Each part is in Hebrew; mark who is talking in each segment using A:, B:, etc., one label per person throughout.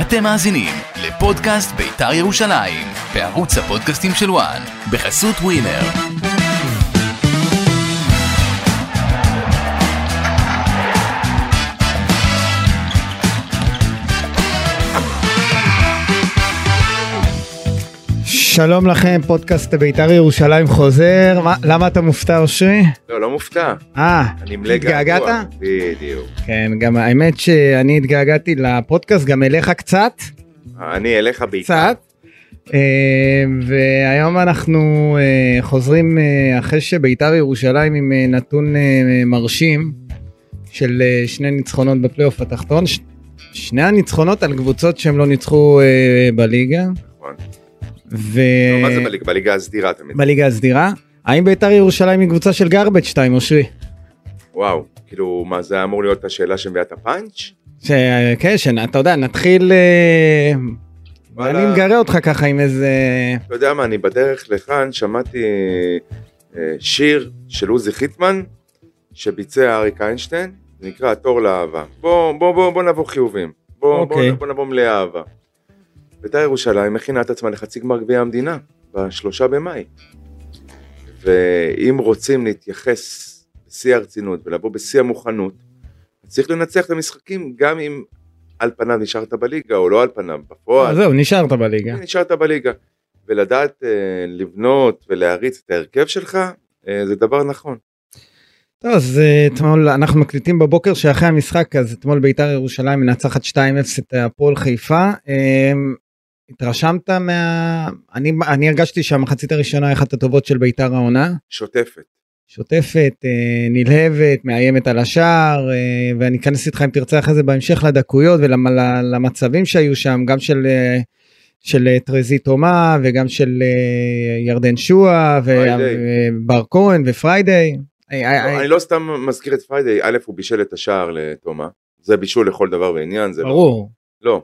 A: אתם מאזינים לפודקאסט בית"ר ירושלים, בערוץ הפודקאסטים של וואן, בחסות ווינר.
B: שלום לכם, פודקאסט בית"ר ירושלים חוזר. מה, למה אתה מופתע, אושרי?
C: לא, לא מופתע.
B: אה,
C: אני מלא געגוע.
B: התגעגעת?
C: בדיוק.
B: כן, גם האמת שאני התגעגעתי לפודקאסט, גם אליך קצת,
C: אני אליך בעיקר.
B: קצת. אה, והיום אנחנו אה, חוזרים אה, אחרי שבית"ר ירושלים עם אה, נתון אה, מרשים של אה, שני ניצחונות בפלייאוף התחתון. ש- שני הניצחונות על קבוצות שהם לא ניצחו אה, בליגה.
C: נכון.
B: ו...
C: לא, מה זה
B: אה,
C: בליגה? בליגה הסדירה תמיד.
B: בליגה הסדירה. האם ביתר ירושלים היא קבוצה של גרבג' 2 אושרי?
C: וואו, כאילו, מה זה היה אמור להיות השאלה שמביאה את הפאנץ'?
B: ש... כן, שאתה יודע, נתחיל... אה,
C: וואלה.
B: אני מגרה אותך ככה עם איזה...
C: אתה יודע מה, אני בדרך לכאן שמעתי אה, שיר של עוזי חיטמן, שביצע אריק איינשטיין, זה נקרא התור לאהבה. בוא, בוא, בוא, בוא נבוא חיובים. בוא,
B: אוקיי.
C: בוא, בוא נבוא מלאי אהבה. בית"ר ירושלים מכינה את עצמה לחצי גמר גביע המדינה, בשלושה במאי. ואם רוצים להתייחס בשיא הרצינות ולבוא בשיא המוכנות, צריך לנצח את המשחקים גם אם על פניו נשארת בליגה או לא על פניו, בפועל.
B: זהו, נשארת בליגה.
C: כן, נשארת בליגה. ולדעת אה, לבנות ולהריץ את ההרכב שלך, אה, זה דבר נכון.
B: טוב, אז אה, אתמול, אנחנו מקליטים בבוקר שאחרי המשחק, אז אתמול ביתר ירושלים מנצחת 2-0 את הפועל חיפה. אה, התרשמת מה... אני, אני הרגשתי שהמחצית הראשונה היא אחת הטובות של ביתר העונה.
C: שוטפת.
B: שוטפת, אה, נלהבת, מאיימת על השער, אה, ואני אכנס איתך אם תרצה אחרי זה בהמשך לדקויות ולמצבים שהיו שם, גם של, אה, של אה, טרזי תומה וגם של אה, ירדן שועה,
C: פריידי.
B: ובר כהן ופריידיי. אה, אה, אה,
C: אני לא סתם מזכיר את פריידי, א', הוא בישל את השער לתומה. זה בישול לכל דבר ועניין, זה לא.
B: ברור.
C: לא.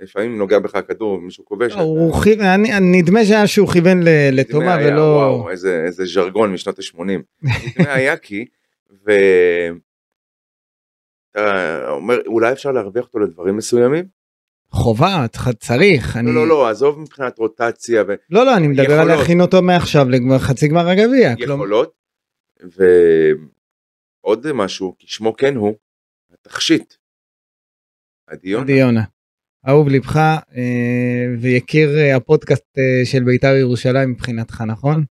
C: לפעמים נוגע בך הכדור ומישהו כובש.
B: לא, הוא כיו- אני- נדמה שהיה שהוא כיוון ל-
C: נדמה
B: לתומה
C: היה,
B: ולא...
C: וואו, איזה, איזה ז'רגון משנות ה-80. נדמה היה כי, ואתה אומר, אולי אפשר להרוויח אותו לדברים מסוימים?
B: חובה, צריך- צריך. אני-
C: לא, לא, לא, עזוב מבחינת רוטציה, ו...
B: לא, לא, אני מדבר על
C: יכולות.
B: להכין אותו מעכשיו לחצי גמר הגביע. כלומר-
C: יכולות. ועוד משהו, כי שמו כן הוא, התכשיט. עדי יונה.
B: עדי יונה. אהוב לבך אה, ויקיר אה, הפודקאסט אה, של בית"ר ירושלים מבחינתך, נכון?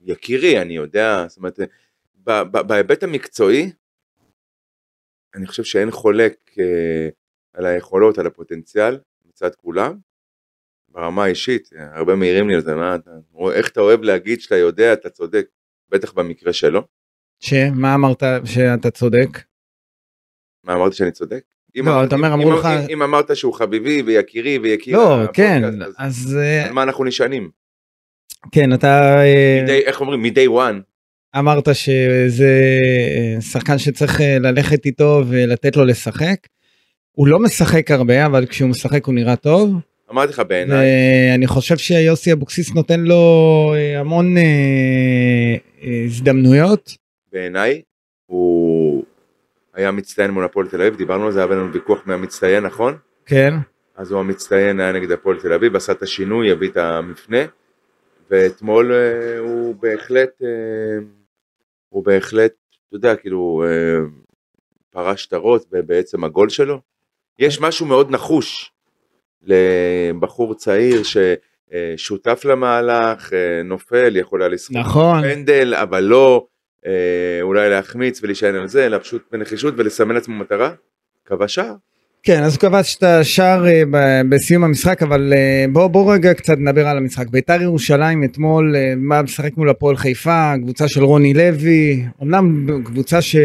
C: יקירי, אני יודע, זאת אומרת, ב- ב- בהיבט המקצועי, אני חושב שאין חולק אה, על היכולות, על הפוטנציאל מצד כולם. ברמה האישית, אה, הרבה מעירים לי על זה, מה אתה, איך אתה אוהב להגיד שאתה יודע, אתה צודק, בטח במקרה שלו.
B: שמה אמרת שאתה צודק?
C: מה אמרתי שאני צודק? אם
B: לא,
C: אמרתי-
B: אתה אומר,
C: אם-
B: אמרו
C: אם-
B: לך-
C: אם- אם אמרת שהוא חביבי ויקירי ויקירה,
B: לא, כן,
C: הפודקאסט, אז
B: אז אה,
C: על מה אנחנו נשענים?
B: כן, אתה אה,
C: מדי- איך אומרים? מ-day one.
B: אמרת שזה אה, שחקן שצריך אה, ללכת איתו ולתת לו לשחק. הוא לא משחק הרבה, אבל כשהוא משחק הוא נראה טוב.
C: אמרתי לך בעיניי,
B: ואני חושב שיוסי אבוקסיס נותן לו אה, המון אה, אה, הזדמנויות.
C: בעיניי, הוא היה מצטיין מול הפועל תל אביב, דיברנו על זה, היה לנו ויכוח מהמצטיין, נכון?
B: כן.
C: אז הוא המצטיין היה נגד הפועל תל אביב, עשה את השינוי, הביא את המפנה, ואתמול אה, הוא בהחלט, אה, הוא בהחלט, אתה יודע, כאילו, אה, פרש שטרות בעצם הגול שלו. יש משהו מאוד נחוש לבחור צעיר ששותף למהלך, אה, נופל, יכול היה לסחוב
B: נכון.
C: פנדל, אבל לא אה, אולי להחמיץ ולהישען על זה, אלא פשוט בנחישות ולסמן לעצמו מטרה. כבש שער.
B: כן, אז הוא כבש את השער אה, ב- בסיום המשחק, אבל אה, בוא, בוא רגע קצת נדבר על המשחק. ביתר ירושלים אתמול אה, בא משחק מול הפועל חיפה, קבוצה של רוני לוי, אמנם קבוצה ש...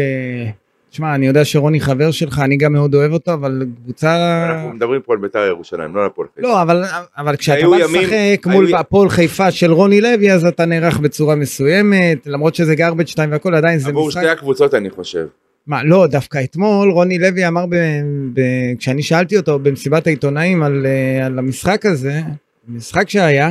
B: תשמע, אני יודע שרוני חבר שלך, אני גם מאוד אוהב אותו, אבל קבוצה...
C: אנחנו מדברים פה על בית"ר ירושלים, לא על הפועל חיפה.
B: לא, אבל, אבל כשאתה
C: היו
B: בא
C: ימים-
B: לשחק
C: היו-
B: מול הפועל חיפה של רוני לוי, אז אתה נערך בצורה מסוימת, למרות שזה גרבג' 2 והכל, עדיין זה
C: עבור
B: משחק
C: שתי הקבוצות אני חושב.
B: מה לא דווקא אתמול רוני לוי אמר ב, ב, כשאני שאלתי אותו במסיבת העיתונאים על, אה, על המשחק הזה משחק שהיה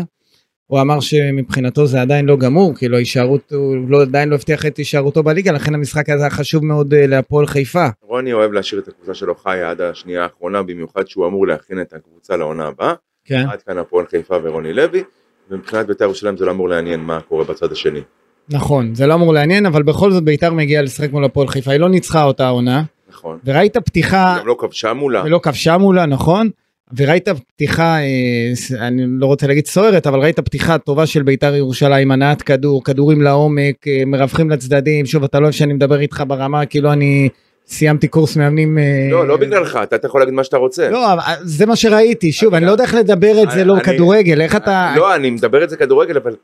B: הוא אמר שמבחינתו זה עדיין לא גמור, כי לא הישארות, הוא לא, עדיין לא הבטיח את הישארותו בליגה, לכן המשחק הזה היה חשוב מאוד אה, להפועל חיפה.
C: רוני אוהב להשאיר את הקבוצה שלו חיה עד השנייה האחרונה, במיוחד שהוא אמור להכין את הקבוצה לעונה הבאה.
B: כן.
C: עד כאן הפועל חיפה ורוני לוי, ומבחינת בית"ר ירושלים זה לא אמור לעניין מה קורה בצד השני.
B: נכון, זה לא אמור לעניין, אבל בכל זאת ביתר מגיעה לשחק מול הפועל חיפה, היא לא ניצחה אותה העונה,
C: נכון.
B: וראית פתיחה...
C: גם לא כבשה מולה.
B: ולא כבשה מולה, נכון? וראית פתיחה, אה, ס- אני לא רוצה להגיד סוערת, אבל ראית פתיחה טובה של ביתר ירושלים, הנעת כדור, כדורים לעומק, אה, מרווחים לצדדים, שוב, אתה לא אוהב שאני מדבר איתך ברמה, כאילו אני סיימתי קורס מאמנים. אה,
C: לא, לא בגללך, אתה אתה יכול להגיד מה שאתה רוצה.
B: לא, אבל זה מה שראיתי, שוב,
C: אני
B: אני לא יודע איך לדבר את זה
C: אני-
B: לא
C: אני-
B: בכדורגל, איך אתה...
C: לא, אני מדבר את זה כדורגל, אבל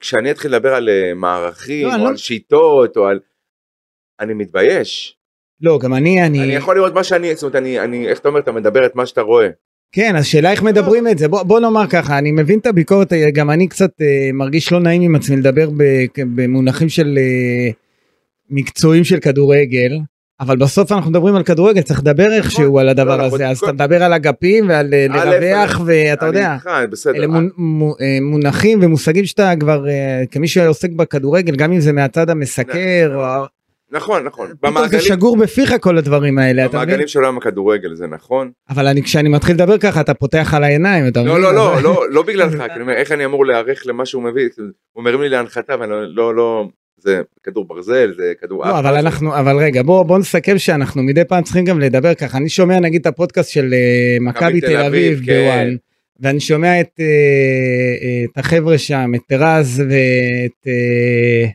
C: כשאני אתחיל לדבר על אה, מערכים,
B: לא, אני
C: או
B: לא-
C: על שיטות, או על... אני מתבייש.
B: לא, גם אני,
C: אני
B: אני...
C: יכול לראות מה שאני, זאת אומרת, אני- אני, איך אתה אומר, אתה מדבר את מה שאתה רואה.
B: כן, השאלה איך מדברים את זה. בוא, בוא נאמר ככה, אני מבין את הביקורת, אה, גם אני קצת אה, מרגיש לא נעים עם עצמי לדבר ב- כ- במונחים של אה, מקצועים של כדורגל, אבל בסוף אנחנו מדברים על כדורגל, צריך לדבר איכשהו על הדבר
C: לא, אנחנו-
B: הזה, אז
C: כל-
B: אתה מדבר על אגפים ועל אה,
C: א',
B: לרווח, ואתה
C: אני
B: יודע,
C: איתך, בסדר.
B: אלה מונ- מו- אה, מונחים ומושגים שאתה כבר, אה, כמי שעוסק בכדורגל, גם אם זה מהצד המסקר, או ה-
C: נכון, נכון.
B: פתאום זה
C: במעגלים-
B: שגור בפיך כל הדברים האלה, אתה מבין?
C: במעגלים של עולם הכדורגל, זה נכון.
B: אבל אני- כשאני מתחיל לדבר ככה, אתה פותח על העיניים, אתה מבין?
C: לא, לא,
B: אבל-
C: לא, לא, לא בגללך, כי אני אומר, איך אני אמור להיערך למה שהוא מביא, כאילו, הוא מרים לי להנחתה, ואני לא- לא, לא, זה כדור ברזל, זה כדור
B: לא, אבל אנחנו, אבל רגע, בוא בוא נסכם שאנחנו מדי פעם צריכים גם לדבר ככה. אני שומע נגיד את הפודקאסט של אה, מכבי תל אביב
C: כן.
B: בוואן, ואני שומע את אה, אה, את החבר'ה שם, את רז ואת... אה,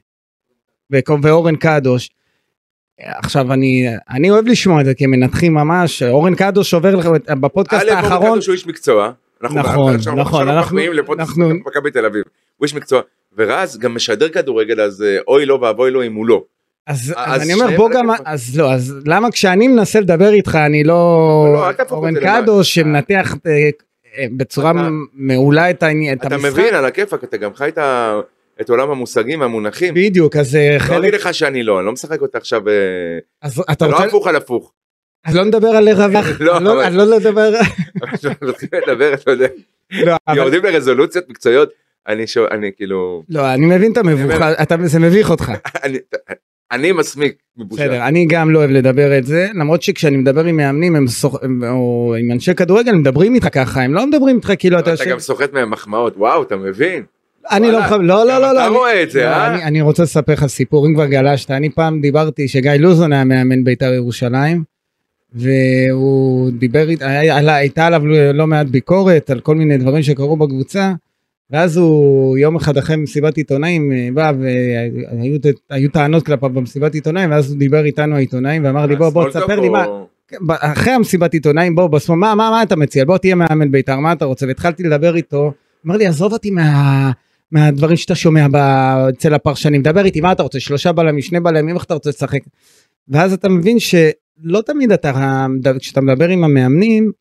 B: וקו- ואורן קדוש. עכשיו אני אני אוהב לשמוע את זה כי הם מנתחים ממש אורן קדוש עובר לך בפודקאסט
C: א', הוא
B: האחרון
C: כתוב שהוא איש מקצוע. אנחנו-
B: נכון,
C: עכשיו-
B: נכון,
C: עכשיו
B: אנחנו-
C: אנחנו מחמיאים לפודקאסט
B: אנחנו-
C: מכבי תל אביב. הוא איש מקצוע. ורז גם משדר כדורגל, אז אה, אוי לו ואבוי לו אם הוא לא.
B: אז,
C: אז
B: אז אני אומר
C: שניהם
B: בוא
C: מנתחים
B: גם
C: פה.
B: אז לא אז למה כשאני מנסה לדבר איתך אני לא
C: לא, אל תהפוך
B: אורן
C: את זה
B: קדוש
C: לבעיה.
B: שמנתח אה, אה, בצורה
C: אתה-
B: מעולה את העניין את
C: אתה
B: המשחק.
C: מבין, על הכיפאק, אתה גם חי את ה- את עולם המושגים והמונחים.
B: בדיוק אז אה,
C: לא
B: חלק
C: אגיד לך שאני לא, אני לא משחק אותה עכשיו, אה,
B: אז אתה
C: זה לא
B: רוצה
C: הפוך על הפוך.
B: אז לא נדבר על לרווח
C: לא,
B: אני לא-
C: אבל-
B: אני לא לדבר
C: עכשיו רוצים לדבר, אתה יודע,
B: לא, אבל-
C: יורדים לרזולוציות מקצועיות, אני שואל, אני כאילו,
B: לא אני מבין את המבוך אתה- זה מביך אותך
C: אני- אני מסמיק מבושה.
B: בסדר אני גם לא אוהב לדבר את זה למרות שכשאני מדבר עם מאמנים הם סוח- הם- או עם אנשי כדורגל הם מדברים איתך ככה הם לא מדברים איתך כאילו אתה
C: אתה
B: יושב
C: גם סוחט מהם מחמאות, וואו, אתה מבין?
B: אני לא
C: וואלה,
B: מחב... לא, לא, לא,
C: גם
B: לא.
C: אתה
B: אני-
C: רואה את זה,
B: לא,
C: אה?
B: אני- אני רוצה לספר לך סיפור, אם כבר גלשת, אני פעם דיברתי שגיא לוזון היה מאמן בית"ר ירושלים, והוא דיבר, אית- היה- עלה- הייתה עליו לא מעט ביקורת על כל מיני דברים שקרו בקבוצה, ואז הוא יום אחד אחרי מסיבת עיתונאים אה, בא והיו ת- היו טענות כלפיו במסיבת עיתונאים, ואז הוא דיבר איתנו העיתונאים ואמר לי בוא בוא
C: הסמולטוק
B: תספר לי
C: או-
B: מה, ב- אחרי המסיבת עיתונאים בוא בשמאל מה מה מה אתה מציע בוא תהיה מאמן בית"ר מה אתה רוצה והתחלתי לדבר איתו אמר לי עזוב אותי מה מהדברים שאתה שומע ב- אצל הפרשנים דבר איתי מה אתה רוצה שלושה בלמים שני בלמים איך אתה רוצה לשחק ואז אתה מבין שלא תמיד אתה כשאתה מדבר עם המאמנים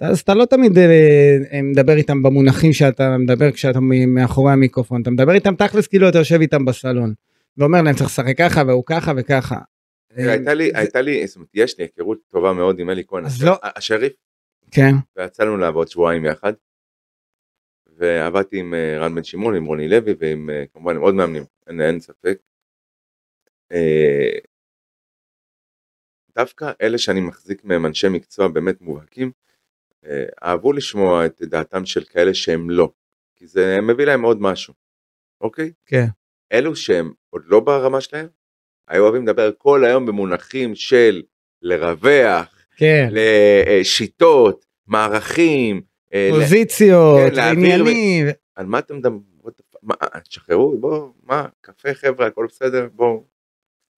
B: אז אתה לא תמיד אה, מדבר איתם במונחים שאתה מדבר כשאתה מ- מאחורי המיקרופון אתה מדבר איתם תכלס כאילו אתה יושב איתם בסלון ואומר להם צריך לשחק ככה והוא ככה וככה.
C: תראה, הייתה לי,
B: זה-
C: הייתה לי, זאת אומרת, יש לי היכרות טובה מאוד עם אלי כהן,
B: אה, אז
C: הש-
B: לא-
C: השריף,
B: כן
C: ויצאנו לעבוד שבועיים יחד, ועבדתי עם אה, רן בן שמעון, עם רוני לוי, ועם אה, כמובן עם עוד מאמנים, אין, אין ספק. אה, דווקא אלה שאני מחזיק מהם אנשי מקצוע באמת מובהקים, אה, אהבו לשמוע את דעתם של כאלה שהם לא, כי זה מביא להם עוד משהו, אוקיי?
B: כן.
C: אלו שהם עוד לא ברמה שלהם, היו אוהבים לדבר כל היום במונחים של לרווח,
B: כן.
C: לשיטות, מערכים, אה, ל-
B: פוזיציות,
C: כן, להעביר ו-
B: עניינים.
C: על מה אתם מדברים? What the fuck? מה, אה, תשחררו, בואו, מה, קפה חבר'ה, הכל בסדר, בואו,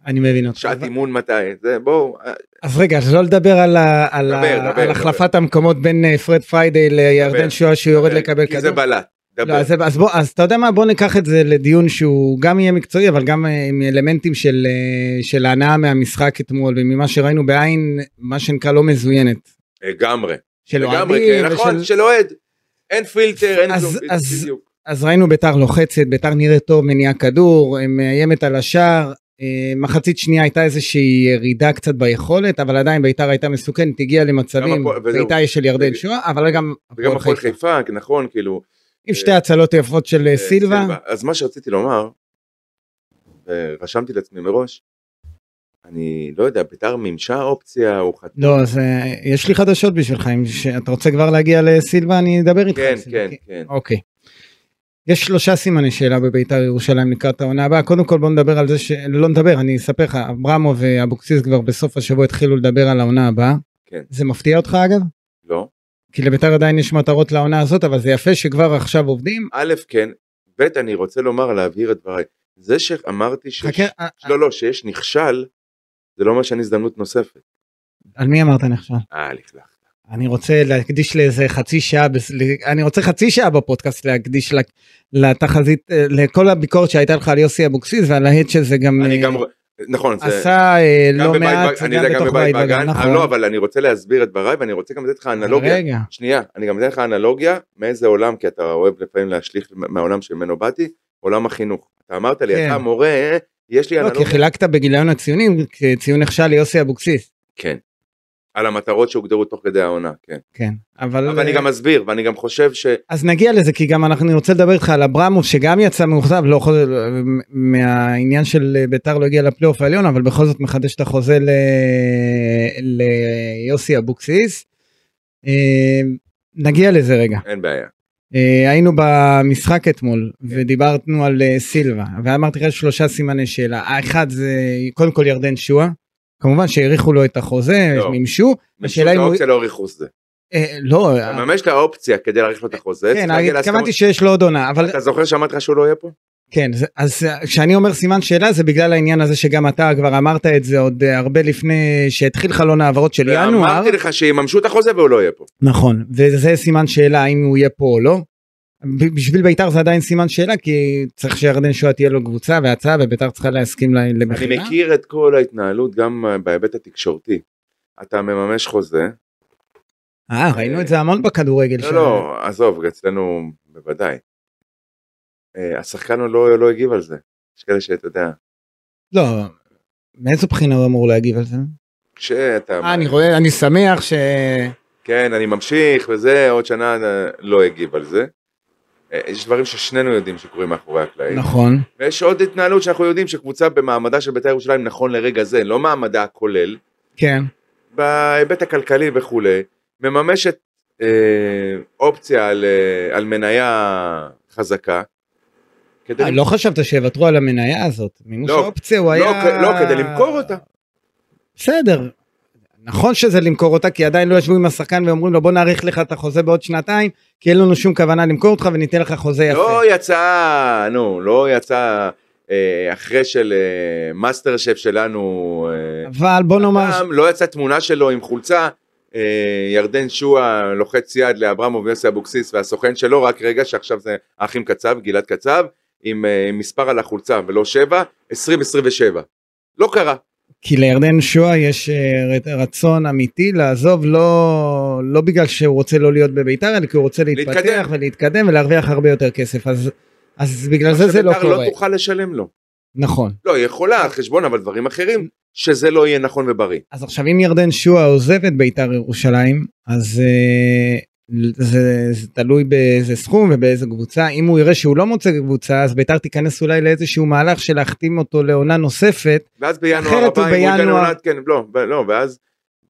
B: אני מבין אותך.
C: שעת
B: אבל-
C: אימון מתי, זה, בואו, אה,
B: אז רגע, אז לא לדבר על ה- על ה-
C: דבר, דבר,
B: על החלפת המקומות בין אה, פרד פריידי לירדן
C: דבר.
B: שואה שהוא יורד לקבל
C: כי זה
B: כדור.
C: בלט,
B: לא,
C: דבר.
B: אז זה- אז בוא, אז אתה יודע מה, בוא ניקח את זה לדיון שהוא גם יהיה מקצועי, אבל גם אה, עם אלמנטים של אה, של ההנאה מהמשחק אתמול, וממה שראינו בעין, מה שנקרא לא מזוינת.
C: לגמרי,
B: של
C: לגמרי,
B: אוהדים
C: כן, נכון,
B: ושל-
C: של אוהד, אין פילטר, אין
B: אז-
C: כלום,
B: אז-
C: בדיוק.
B: אז ראינו ביתר לוחצת, ביתר נראית טוב, מניעה כדור, אה, מאיימת על השער. אה, מחצית שנייה הייתה איזושהי ירידה קצת ביכולת, אבל עדיין ביתר הייתה מסוכנת, הגיעה למצבים,
C: הפועל- וזהו.
B: בעיטה של ירדן
C: בדיוק.
B: שואה, אבל גם
C: וגם
B: הפועל
C: הפועל
B: חיפה.
C: חיפה, נכון, כאילו,
B: עם שתי הצלות יפות של אה, סילבה.
C: אז מה שרציתי לומר, אה, רשמתי לעצמי מראש, אני לא יודע, ביתר מימשה אופציה, הוא חתם.
B: לא, אז אה, יש לי חדשות בשבילך, אם ש- אתה רוצה כבר להגיע לסילבה, אני אדבר איתך.
C: כן,
B: על סילבה,
C: כן,
B: כי-
C: כן.
B: אוקיי. יש שלושה סימני שאלה בביתר ירושלים לקראת העונה הבאה. קודם כל בוא נדבר על זה ש... לא נדבר, אני אספר לך, אברמו ואבוקסיס כבר בסוף השבוע התחילו לדבר על העונה הבאה.
C: כן.
B: זה מפתיע אותך אגב?
C: לא.
B: כי לביתר עדיין יש מטרות לעונה הזאת, אבל זה יפה שכבר עכשיו עובדים.
C: א', כן, ב', אני רוצה לומר, להבהיר את דבריי. זה שאמרתי ש...
B: חכה, אה,
C: לא, לא, שיש נכשל, זה לא אומר שאין הזדמנות נוספת.
B: על מי אמרת נחשב?
C: אה, לכלך.
B: אני רוצה להקדיש לאיזה חצי שעה, בס- ל- אני רוצה חצי שעה בפודקאסט להקדיש לק- לתחזית, אה, לכל הביקורת שהייתה לך על יוסי אבוקסיס ועל ההד שזה גם
C: אני
B: אה,
C: גם... נכון, זה...
B: עשה אה,
C: גם
B: לא
C: בבית
B: מעט,
C: בג- אני יודע, גם
B: בתוך
C: בבית
B: בית בגן,
C: בגן. אה,
B: נכון.
C: לא, אבל אני רוצה להסביר את דבריי, ואני רוצה גם לתת לך אנלוגיה. כן,
B: רגע, לא,
C: שנייה, אני גם אתן לך אנלוגיה מאיזה עולם, כי אתה אוהב לפעמים להשליך מהעולם שממנו באתי, עולם החינוך. אתה אמרת לי,
B: כן.
C: אתה מורה, יש לי
B: לא, כי
C: אנלוגיה.
B: חילקת בגיליון הציונים ציון נכשל ליוסי אבוקסיס,
C: כן. על המטרות שהוגדרו תוך כדי העונה, כן.
B: כן, אבל...
C: אבל אני
B: אה,
C: גם אסביר, ואני גם חושב ש...
B: אז נגיע לזה כי גם אנחנו רוצה לדבר איתך על אברמוב שגם יצא מאוכזב לא חוזר מהעניין של ביתר לא הגיע לפלייאוף העליון אבל בכל זאת מחדש את החוזה ל... ליוסי אבוקסיס. אה, נגיע לזה רגע.
C: אין בעיה.
B: אה, היינו במשחק אתמול
C: כן.
B: ודיברנו על אה, סילבה ואמרתי לך שלושה סימני שאלה האחד זה קודם כל ירדן שואה. כמובן שהאריכו לו את החוזה,
C: לא.
B: מימשו,
C: משום
B: אם הוא-
C: האופציה לא ריכוס זה.
B: אה, לא,
C: ממש את האופציה כדי להאריך לו את החוזה. צריך
B: כן,
C: להגיע
B: התכוונתי
C: להסכמות.
B: שיש לו עוד עונה, אבל
C: אתה זוכר שאמרתי לך שהוא לא יהיה פה?
B: כן, זה- אז אה, כשאני אומר סימן שאלה זה בגלל העניין הזה שגם אתה כבר אמרת את זה עוד אה, הרבה לפני שהתחיל חלון ההעברות של ינואר.
C: אמרתי לך שיממשו את החוזה והוא לא יהיה פה.
B: נכון, וזה סימן שאלה האם הוא יהיה פה או לא. ב- בשביל בית"ר זה עדיין סימן שאלה כי צריך שירדן שואה תהיה לו קבוצה והצעה ובית"ר צריכה להסכים לה- למכירה.
C: אני מכיר את כל ההתנהלות גם אה, בהיבט התקשורתי. אתה מממש חוזה,
B: אה, ראינו את זה המון בכדורגל.
C: לא,
B: ש-
C: לא, עזוב, אצלנו בוודאי. אה, השחקן עוד לא, לא הגיב על זה. יש כאלה שאתה יודע,
B: לא. מאיזו בחינה הוא אמור להגיב על זה?
C: כשאתה...
B: אה, אני רואה, אני שמח ש...
C: כן, אני ממשיך וזה, עוד שנה אה, לא הגיב על זה. אה, יש דברים ששנינו יודעים שקורים מאחורי הקלעים.
B: נכון.
C: ויש עוד התנהלות שאנחנו יודעים שקבוצה במעמדה של בית"ר ירושלים נכון לרגע זה, לא מעמדה הכולל,
B: כן.
C: בהיבט הכלכלי וכולי, מממשת אה, אופציה על, אה, על מניה חזקה. כדי
B: אה, לא חשבת שיוותרו על המניה הזאת. מימוש
C: כן. לא,
B: האופציה הוא
C: לא,
B: היה...
C: כ- לא, כדי למכור אותה.
B: בסדר. נכון שזה למכור אותה כי עדיין לא ישבו עם השחקן ואומרים לו בוא נאריך לך את החוזה בעוד שנתיים כי אין לנו שום כוונה למכור אותך וניתן לך חוזה יפה.
C: לא יצא, נו, לא יצא אה, אחרי של אה, מאסטר שף שלנו, אה,
B: אבל בוא נאמר ש-
C: גם לא יצאה תמונה שלו עם חולצה, אה, ירדן שועה לוחץ יד לאברמוב ויוסי אבוקסיס והסוכן שלו, רק רגע שעכשיו זה האחים קצב, גלעד קצב, עם אה, מספר על החולצה ולא שבע, 2027. לא קרה.
B: כי לירדן שואה יש אה, ר- רצון אמיתי לעזוב לא לא בגלל שהוא רוצה לא להיות בביתר אלא כי הוא רוצה להתפתח
C: להתקדם.
B: ולהתקדם ולהרוויח הרבה יותר כסף אז אז בגלל זה זה לא
C: שביתר
B: קורה
C: לא תוכל לשלם לו.
B: נכון
C: לא, היא יכולה על חשבון, אבל דברים אחרים, שזה לא יהיה נכון ובריא.
B: אז עכשיו אם ירדן שואה עוזב את ביתר ירושלים אז אה, זה, זה תלוי באיזה סכום ובאיזה קבוצה אם הוא יראה שהוא לא מוצא קבוצה אז ביתר תיכנס אולי לאיזשהו מהלך של להחתים אותו לעונה נוספת
C: ואז בינואר
B: אחרת הוא
C: הבא, אם הוא ייתן
B: בינואר-
C: עונת, כן, לא, ב- לא, ואז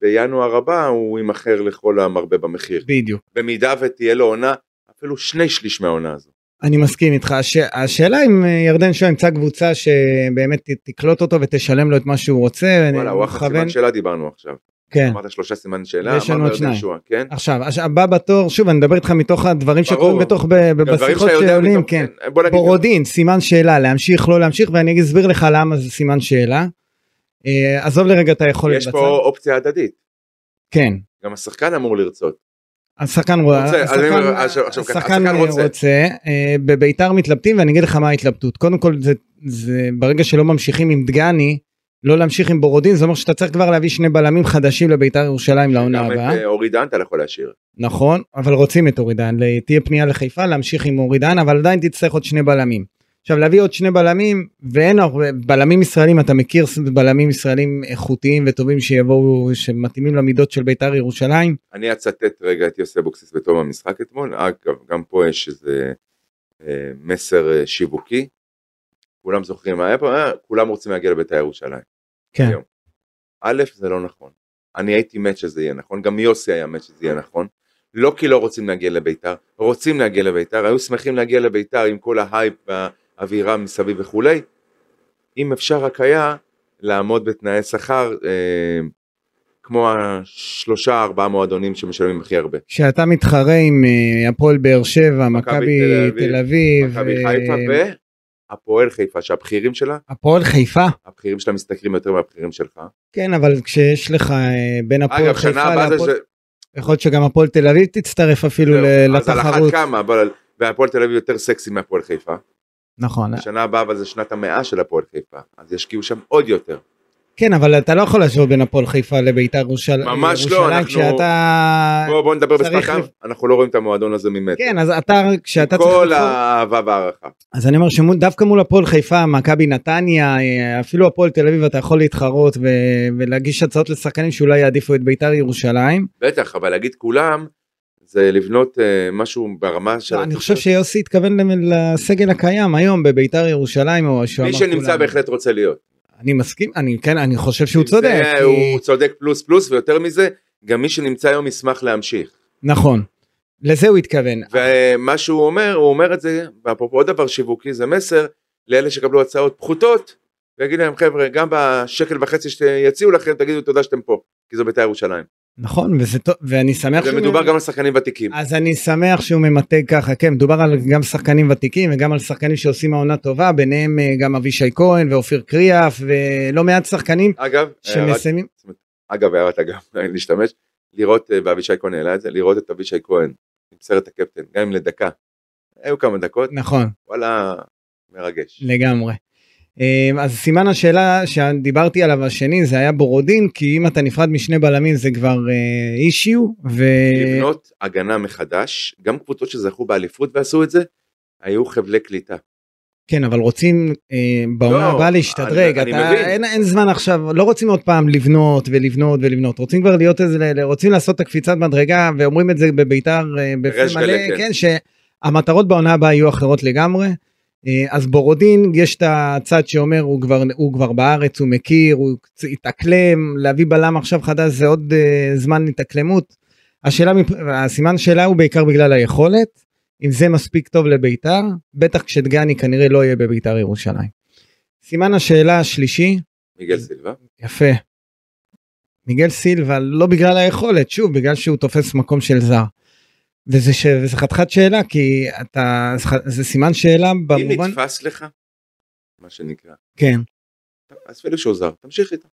C: בינואר הבא הוא יימכר לכל המרבה במחיר.
B: בדיוק
C: במידה ותהיה לו עונה, אפילו שני שליש מהעונה הזו.
B: אני מסכים איתך הש... השאלה אם אה, ירדן שואה ימצא קבוצה שבאמת ת- תקלוט אותו ותשלם לו את מה שהוא רוצה
C: וואלה,
B: אני
C: וואחד סימן שאלה דיברנו עכשיו.
B: כן.
C: אמרת שלושה סימן שאלה,
B: יש לנו עוד
C: אמרת ירדן
B: שניים.
C: שועה, כן?
B: עכשיו הש- הבא בתור שוב אני מדבר איתך מתוך הדברים
C: ברור.
B: שקורים בתוך ב- ב-
C: הדברים
B: בשיחות
C: שאתה יודע
B: שעולים
C: פתאום,
B: כן.
C: בוא נגיד,
B: בורודין, סימן שאלה, להמשיך, לא להמשיך, ואני אסביר לך למה זה סימן שאלה. אה, עזוב לרגע את היכולת
C: יש פה אופציה הדדית.
B: כן.
C: גם השחקן אמור לרצות.
B: השחקן
C: רוצה, אז אני אומר, עכשיו- עכשיו ככה, השחקן רוצה.
B: רוצה. אה, בביתר מתלבטים, ואני אגיד לך מה ההתלבטות. קודם כל, זה- זה ברגע שלא ממשיכים עם דגני, לא להמשיך עם בורודין, זה אומר שאתה צריך כבר להביא שני בלמים חדשים לביתר ירושלים לעונה
C: גם
B: הבאה.
C: את אה, אורי דן אתה לא יכול להשאיר.
B: נכון, אבל רוצים את אורידן, ל- תהיה פנייה לחיפה להמשיך עם אורידן, אבל עדיין תצטרך עוד שני בלמים. עכשיו להביא עוד שני בלמים, ואין הרבה, בלמים ישראלים, אתה מכיר ס- בלמים ישראלים איכותיים וטובים שיבואו, שמתאימים למידות של בית"ר ירושלים?
C: אני אצטט רגע את יוסי אבוקסיס בתום המשחק אתמול, אגב, גם פה יש איזה אה, מסר אה, שיווקי. כולם זוכרים מה היה פה, אה, כולם רוצים להגיע לבית"ר ירושלים.
B: כן.
C: היום. א', זה לא נכון. אני הייתי מת שזה יהיה נכון, גם יוסי היה מת שזה יהיה נכון. לא כי לא רוצים להגיע לביתר, רוצים להגיע לביתר, היו שמחים להגיע לביתר עם כל ההייפ והאווירה מסביב וכולי. אם אפשר רק היה לעמוד בתנאי שכר אה, כמו השלושה ארבעה מועדונים שמשלמים הכי הרבה.
B: כשאתה מתחרה עם אה, הפועל באר שבע, מכבי
C: תל אביב,
B: תל אביב,
C: מכבי
B: אה,
C: חיפה והפועל חיפה שהבכירים שלה,
B: הפועל חיפה.
C: הבכירים שלה משתכרים יותר מהבכירים שלך.
B: כן, אבל כשיש לך אה, בין הפועל
C: אגב שנה
B: חיפה
C: הבאה זה
B: להפועל...
C: ש...
B: יכול להיות שגם הפועל תל אביב תצטרף אפילו
C: זהו,
B: כאילו ל-
C: אז על אחת
B: לתחרות.
C: כמה אבל והפועל תל אביב יותר סקסי מהפועל חיפה.
B: נכון.
C: שנה הבאה אבל זה שנת המאה של הפועל חיפה אז ישקיעו שם עוד יותר.
B: כן, אבל אתה לא יכול להשוות בין הפועל חיפה לביתר ירושלים.
C: ממש לא,
B: ירושלים
C: אנחנו-
B: כשאתה...
C: בואו בוא נדבר
B: צריך
C: בספקם
B: לב-
C: אנחנו לא רואים את המועדון הזה ממטר.
B: כן, אז אתה, כשאתה צריך...
C: כל
B: לבחור-
C: האהבה והערכה.
B: אז אני אומר שדווקא מול הפועל חיפה, מכבי נתניה, אה, אפילו הפועל תל אביב, אתה יכול להתחרות ו- ולהגיש הצעות לשחקנים שאולי יעדיפו את ביתר ירושלים.
C: בטח אבל להגיד כולם זה לבנות אה, משהו ברמה של...
B: לא, אני חושב שיוסי התכוון למ- לסגל הקיים היום בביתר ירושלים, או שהוא
C: מי
B: אמר
C: שנמצא
B: לא, כולם.
C: בהחלט רוצה להיות.
B: אני מסכים, אני כן, אני חושב שהוא
C: זה-
B: צודק. כי-
C: הוא צודק פלוס פלוס ויותר מזה גם מי שנמצא היום ישמח להמשיך.
B: נכון. לזה הוא התכוון.
C: ומה שהוא אומר הוא אומר את זה ואפרופו עוד דבר שיווקי זה מסר לאלה שקבלו הצעות פחותות ויגיד להם חבר'ה גם בשקל וחצי שיציעו לכם תגידו תודה שאתם פה כי זו בית"ר ירושלים.
B: נכון, וזה טוב, ואני שמח
C: ומדובר גם על שחקנים ותיקים.
B: אז אני שמח שהוא ממתג ככה, כן, מדובר על גם שחקנים ותיקים וגם על שחקנים שעושים העונה טובה, ביניהם אה, גם אבישי כהן ואופיר קריאף ולא מעט שחקנים
C: אגב, הערת-
B: שמסיימים.
C: אגב הערת אגב להשתמש לראות אה, ואבישי כהן העלה את זה לראות את אבישי כהן עם סרט הקפטן גם אם לדקה. היו כמה דקות
B: נכון,
C: וואלה מרגש.
B: לגמרי. אה, אז סימן השאלה שדיברתי עליו השני זה היה בורודין, כי אם אתה נפרד משני בלמים זה כבר אה, אישיו, ו...
C: לבנות הגנה מחדש, גם קבוצות שזכו באליפות ועשו את זה, היו חבלי קליטה.
B: כן, אבל רוצים אה, בעונה
C: לא,
B: הבאה להשתדרג,
C: אני- אני
B: אתה,
C: מבין.
B: אין, אין זמן עכשיו, לא רוצים עוד פעם לבנות ולבנות ולבנות, רוצים כבר להיות איזה, רוצים לעשות את הקפיצת מדרגה, ואומרים את זה בביתר אה, בפה
C: בריש
B: מלא,
C: גלי, כן.
B: כן, שהמטרות בעונה הבאה יהיו אחרות לגמרי. אה, אז בורודין, יש את הצד שאומר, הוא כבר, הוא כבר בארץ, הוא מכיר, הוא קצ- התאקלם, להביא בלם עכשיו חדש זה עוד אה, זמן התאקלמות. השאלה, מפ- הסימן שאלה הוא בעיקר בגלל היכולת. אם זה מספיק טוב לביתר, בטח כשדגני כנראה לא יהיה בביתר ירושלים. סימן השאלה השלישי,
C: מיגל סילבה,
B: יפה. מיגל סילבה, לא בגלל היכולת, שוב, בגלל שהוא תופס מקום של זר. וזה, ש... וזה חתיכת שאלה, כי אתה, זה ח- זה סימן שאלה
C: אם
B: במובן,
C: נתפס לך, מה שנקרא,
B: כן,
C: אז פלג שהוא זר, תמשיך איתו.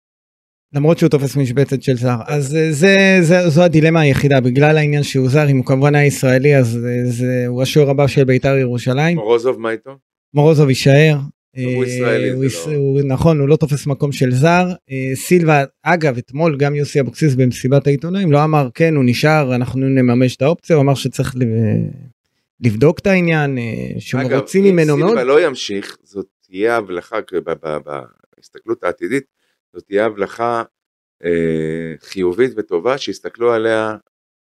B: למרות שהוא תופס משבצת של זר. אז אה, זה, זה, זו הדילמה היחידה, בגלל העניין שהוא זר, אם הוא כמובן היה ישראלי, אז אה, זה, הוא השוער הבא של ביתר ירושלים.
C: מורוזוב, מה איתו?
B: מורוזוב יישאר.
C: הוא
B: אה,
C: ישראלי, זה
B: הוא
C: לא-
B: יש- הוא- נכון, הוא לא תופס מקום של זר. אה, סילבה, אגב, אתמול גם יוסי אבוקסיס במסיבת העיתונאים לא אמר, כן, הוא נשאר, אנחנו נממש את האופציה, הוא אמר שצריך ל- לבדוק את העניין, אה, שמרוצים ממנו מאוד.
C: סילבה לא ימשיך, זאת תהיה הבלחה, ב- ב- ב- בהסתכלות העתידית, זאת תהיה הבלחה אה, חיובית וטובה, שיסתכלו עליה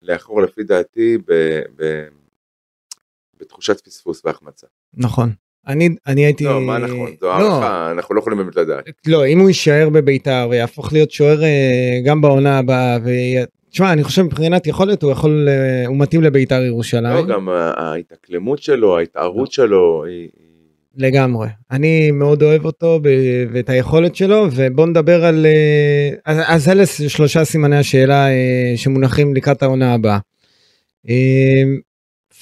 C: לאחור, לפי דעתי, ב- ב- בתחושת פספוס והחמצה.
B: נכון. אני אני הייתי...
C: לא, מה נכון? זו
B: לא,
C: הערכה, אנחנו לא יכולים באמת לדעת.
B: לא, אם הוא יישאר בביתר ויהפוך להיות שוער אה, גם בעונה הבאה, ו- תשמע, אני חושב מבחינת יכולת הוא יכול, אה, הוא מתאים לביתר ירושלים.
C: לא, גם ה- ההתאקלמות שלו,
B: לא.
C: ההתערות שלו, היא... היא-
B: לגמרי. אני מאוד אוהב אותו ב- ואת היכולת שלו, ובוא נדבר על... אה, אז, אז אלה ס- שלושה סימני השאלה אה, שמונחים לקראת העונה הבאה. אה,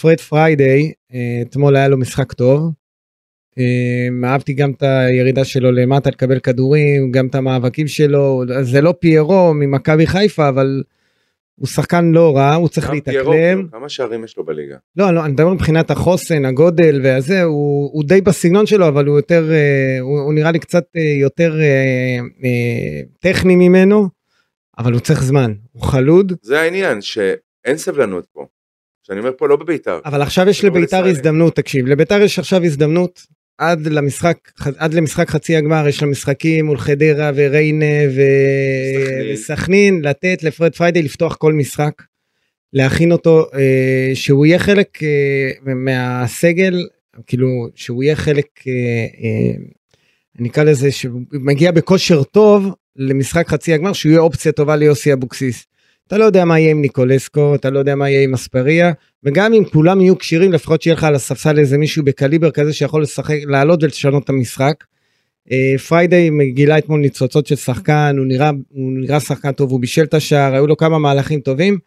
B: פרד פריידיי, אה, אתמול היה לו משחק טוב. אה, אהבתי גם את הירידה שלו למטה לקבל כדורים, גם את המאבקים שלו. אז זה לא פיירו ממכבי חיפה, אבל הוא שחקן לא רע, הוא צריך
C: גם פיירו,
B: להתאקלם.
C: כאילו, כמה שערים יש לו בליגה?
B: לא, לא, אני מדבר מבחינת החוסן, הגודל והזה, הוא, הוא די בסגנון שלו, אבל הוא יותר, אה, הוא, הוא נראה לי קצת אה, יותר אה, אה, טכני ממנו, אבל הוא צריך זמן, הוא חלוד,
C: זה העניין, שאין סבלנות פה. שאני אומר פה לא בביתר.
B: אבל עכשיו יש
C: זה מאוד
B: לביתר
C: ישראלי.
B: הזדמנות, תקשיב, לביתר יש עכשיו הזדמנות, עד למשחק, עד למשחק חצי הגמר, יש לה משחקים מול חדרה וריינה ו...
C: וסכנין.
B: וסכנין, לתת לפרד פריידי לפתוח כל משחק. להכין אותו, אה, שהוא יהיה חלק אה, מהסגל כאילו שהוא יהיה חלק, אה, אה, אני אקרא לזה, שמגיע בכושר טוב למשחק חצי הגמר, שהוא יהיה אופציה טובה ליוסי אבוקסיס. אתה לא יודע מה יהיה עם ניקולסקו, אתה לא יודע מה יהיה עם אספריה, וגם אם כולם יהיו כשירים, לפחות שיהיה לך על הספסל איזה מישהו בקליבר כזה שיכול לשחק, לעלות ולשנות את המשחק. אה, פריידי גילה אתמול ניצוצות של שחקן, הוא נראה, הוא נראה שחקן טוב, הוא בישל את השער, היו לו כמה מהלכים טובים.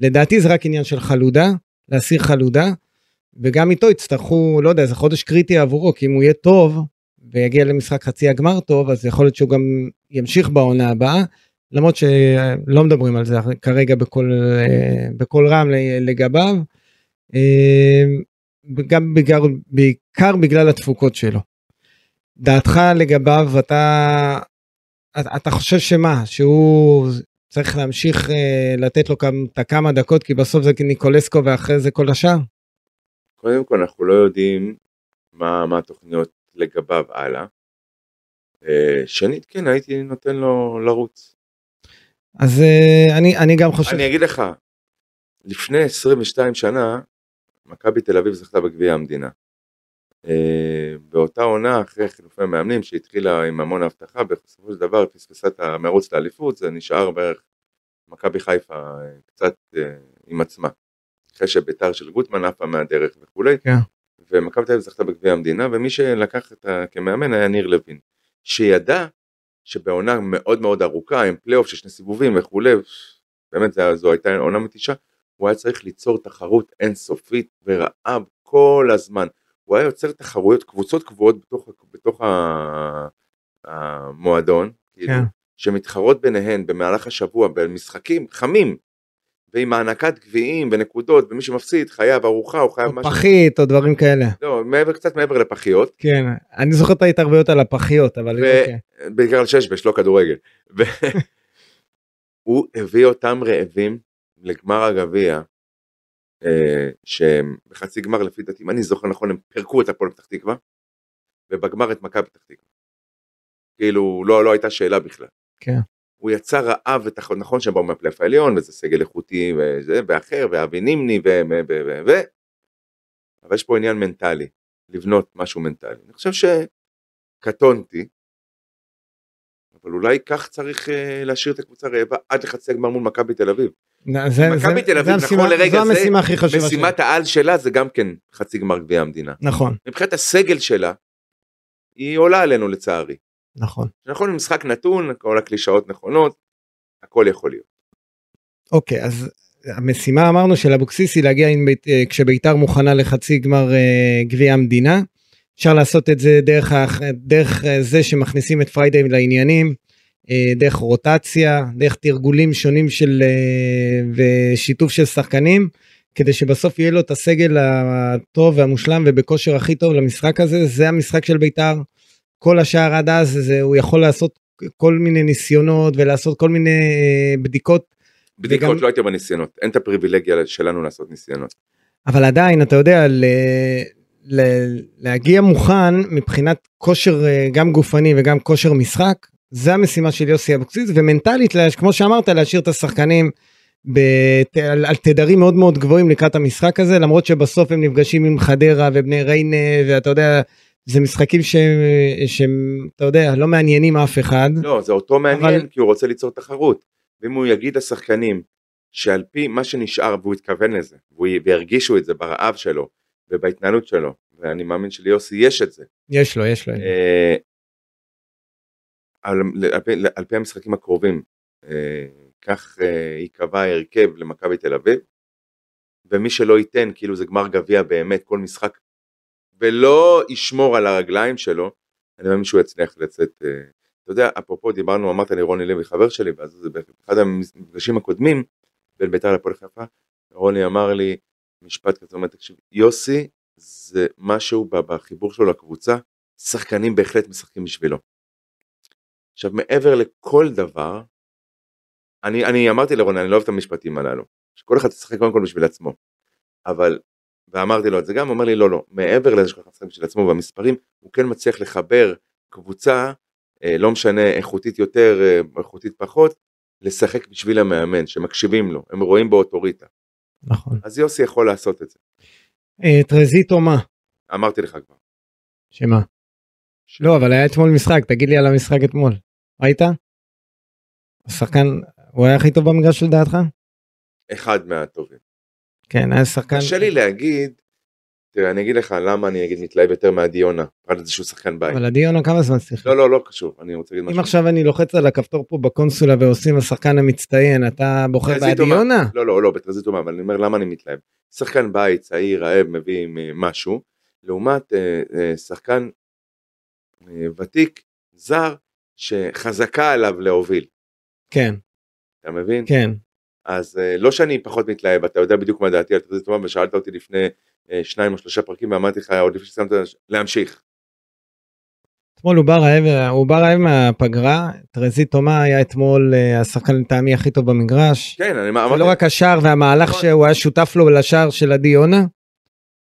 B: לדעתי זה רק עניין של חלודה, להסיר חלודה, וגם איתו יצטרכו, לא יודע, זה חודש קריטי עבורו, כי אם הוא יהיה טוב, ויגיע למשחק חצי הגמר טוב, אז יכול להיות שהוא גם ימשיך בעונה הבאה, למרות שלא מדברים על זה כרגע בכל, אה, בכל רם לגביו, אה, גם בגלל, בעיקר בגלל התפוקות שלו. דעתך לגביו, אתה, אתה אתה חושב שמה, שהוא צריך להמשיך אה, לתת לו כמה- את הכמה דקות, כי בסוף זה ניקולסקו ואחרי זה כל השאר?
C: קודם כל אנחנו לא יודעים מה, מה התוכניות לגביו הלאה. אה, שנית כן הייתי נותן לו לרוץ.
B: אז אה, אני, אני גם חושב,
C: אני אגיד לך, לפני 22 שנה מכבי תל אביב זכתה בגביע המדינה. אה, באותה עונה אחרי חילופי מאמנים שהתחילה עם המון הבטחה בסופו של דבר פספסה את המרוץ לאליפות זה נשאר בערך מכבי חיפה אה, קצת אה, עם עצמה. אחרי שביתר של גוטמן עפה מהדרך וכולי.
B: כן.
C: ומכבי תל אביב זכתה בגביע המדינה ומי שלקח את ה... כמאמן היה ניר לוין. שידע שבעונה מאוד מאוד ארוכה עם פלייאוף של שני סיבובים וכולי באמת זה- זו הייתה עונה מתישה, הוא היה צריך ליצור תחרות אינסופית ורעב כל הזמן. הוא היה יוצר תחרויות, קבוצות קבועות בתוך, ה- בתוך ה- המועדון, כאילו,
B: כן.
C: שמתחרות ביניהן במהלך השבוע במשחקים חמים, ועם הענקת גביעים ונקודות, ומי שמפסיד חייב ארוחה או חייב
B: או
C: משהו.
B: פחית או דברים כאלה.
C: לא, מעבר, קצת מעבר לפחיות.
B: כן, אני זוכר את ההתערבויות על הפחיות, אבל
C: ו-
B: אוקיי.
C: בעיקר על ששבש, לא כדורגל. ו- הוא הביא אותם רעבים לגמר הגביע, אה, שהם בחצי גמר לפי דעתי, אם אני זוכר נכון, הם פירקו את הפועל פתח תקווה, ובגמר את מכבי פתח תקווה. כאילו, לא, לא הייתה שאלה בכלל.
B: כן.
C: הוא יצא רעב ותחרות, נכון שהם באו מהפלייאוף העליון, וזה סגל איכותי וזה, ואחר, ואבי נימני, ו... ו... ו... ו... ו... אבל יש פה עניין מנטלי, לבנות משהו מנטלי. אני חושב שקטונתי, אבל אולי כך צריך אה, להשאיר את הקבוצה רעבה עד לחצי הגמר מול מכבי תל אביב.
B: נ- זה-
C: מכבי
B: זה-
C: תל
B: זה
C: אביב, נכון
B: המשימה-
C: לרגע
B: זו
C: זה,
B: המשימה הכי חשובה שלי.
C: משימת העל שלה זה גם כן חצי גמר גביע המדינה.
B: נכון,
C: מבחינת הסגל שלה, היא עולה עלינו לצערי.
B: נכון.
C: נכון, עם משחק נתון, כל הקלישאות נכונות, הכל יכול להיות.
B: אוקיי, אז המשימה אמרנו של אבוקסיס היא להגיע עם בית, אה, כשביתר מוכנה לחצי גמר אה, גביע המדינה. אפשר לעשות את זה דרך, ה- דרך אה, זה שמכניסים את פריידי לעניינים, אה, דרך רוטציה, דרך תרגולים שונים של אה, ושיתוף של שחקנים, כדי שבסוף יהיה לו את הסגל הטוב והמושלם ובכושר הכי טוב למשחק הזה, זה המשחק של ביתר. כל השאר עד אז זה, הוא יכול לעשות כל מיני ניסיונות ולעשות כל מיני אה, בדיקות
C: בדיקות
B: וגם-
C: לא הייתי בניסיונות, אין את הפריבילגיה שלנו לעשות ניסיונות.
B: אבל עדיין אתה יודע ל... ל... להגיע מוכן מבחינת כושר אה, גם גופני וגם כושר משחק זה המשימה של יוסי אבוקסיס ומנטלית לה- כמו שאמרת להשאיר את השחקנים בת... על... על תדרים מאוד מאוד גבוהים לקראת המשחק הזה למרות שבסוף הם נפגשים עם חדרה ובני ריינה ואתה יודע זה משחקים שהם, שהם אתה יודע לא מעניינים אף אחד
C: לא, זה אותו
B: אבל-
C: מעניין, כי הוא רוצה ליצור תחרות. ואם הוא יגיד לשחקנים שעל פי מה שנשאר, והוא התכוון לזה, והוא י- וירגישו את זה ברעב שלו ובהתנהלות שלו, ואני מאמין שליוסי יש את זה.
B: יש לו יש לו
C: אה, על, על, פי, על פי המשחקים הקרובים, אה, כך אה, ייקבע ההרכב למכבי תל אביב, ומי שלא ייתן, כאילו זה גמר גביע באמת, כל משחק, ולא ישמור על הרגליים שלו, אני מאמין שהוא יצליח לצאת. אה, אתה יודע, אפרופו דיברנו, אמרת לי רוני לוי חבר שלי, ואז זה באחד המפגשים הקודמים בין ביתר לפועל חיפה, רוני אמר לי משפט כזה, הוא אומר, תקשיב, יוסי זה משהו ב- בחיבור שלו לקבוצה, שחקנים בהחלט משחקים בשבילו. עכשיו מעבר לכל דבר, אני, אני אמרתי לרון, אני לא אוהב את המשפטים הללו, שכל אחד ישחק קודם כל בשביל עצמו, אבל, ואמרתי לו את זה גם, הוא אומר לי לא, לא, מעבר לזה שכל אחד ישחק בשביל עצמו והמספרים, הוא כן מצליח לחבר קבוצה, אה, לא משנה איכותית יותר, אה, איכותית פחות, לשחק בשביל המאמן, שמקשיבים לו, הם רואים בו אוטוריטה,
B: נכון.
C: אז יוסי יכול לעשות את זה.
B: אה, טרזיטו מה?
C: אמרתי לך כבר.
B: שמה? לא, אבל היה אתמול משחק, תגיד לי על המשחק אתמול. ראית? השחקן, הוא היה הכי טוב במגרש לדעתך?
C: אחד מהטובים.
B: כן, היה שחקן...
C: קשה לי להגיד, תראה, אני אגיד לך למה אני אגיד מתלהב יותר מעדי יונה, פרט לזה שהוא שחקן בית.
B: אבל עדי יונה כמה זמן שיחק?
C: לא, לא, לא קשור, אני רוצה להגיד
B: אם
C: משהו.
B: עכשיו אני לוחץ על הכפתור פה בקונסולה ועושים השחקן המצטיין, אתה בוחר
C: טרזית
B: בעדי
C: הוא מה-
B: יונה?
C: לא, לא, לא, בטרזית אומה, אבל אני אומר למה אני מתלהב. שחקן בית, צעיר, רעב, מביא עם, אה, משהו, לעומת אה, אה, שחקן אה, ותיק, זר, שחזקה עליו להוביל,
B: כן,
C: אתה מבין?
B: כן.
C: אז אה, לא שאני פחות מתלהב, אתה יודע בדיוק מה דעתי על תחזית טובה, ושאלת אותי לפני אה, שניים או שלושה פרקים, ואמרתי לך עוד לפני ששמת להמשיך.
B: אתמול הוא בא רעב, הוא בא רעב מהפגרה, טרזית תומה היה אתמול אה, השחקן לטעמי הכי טוב במגרש.
C: כן, אני מה-
B: זה
C: אמרתי,
B: לא רק השער והמהלך
C: נכון.
B: שהוא היה שותף לו לשער של עדי יונה,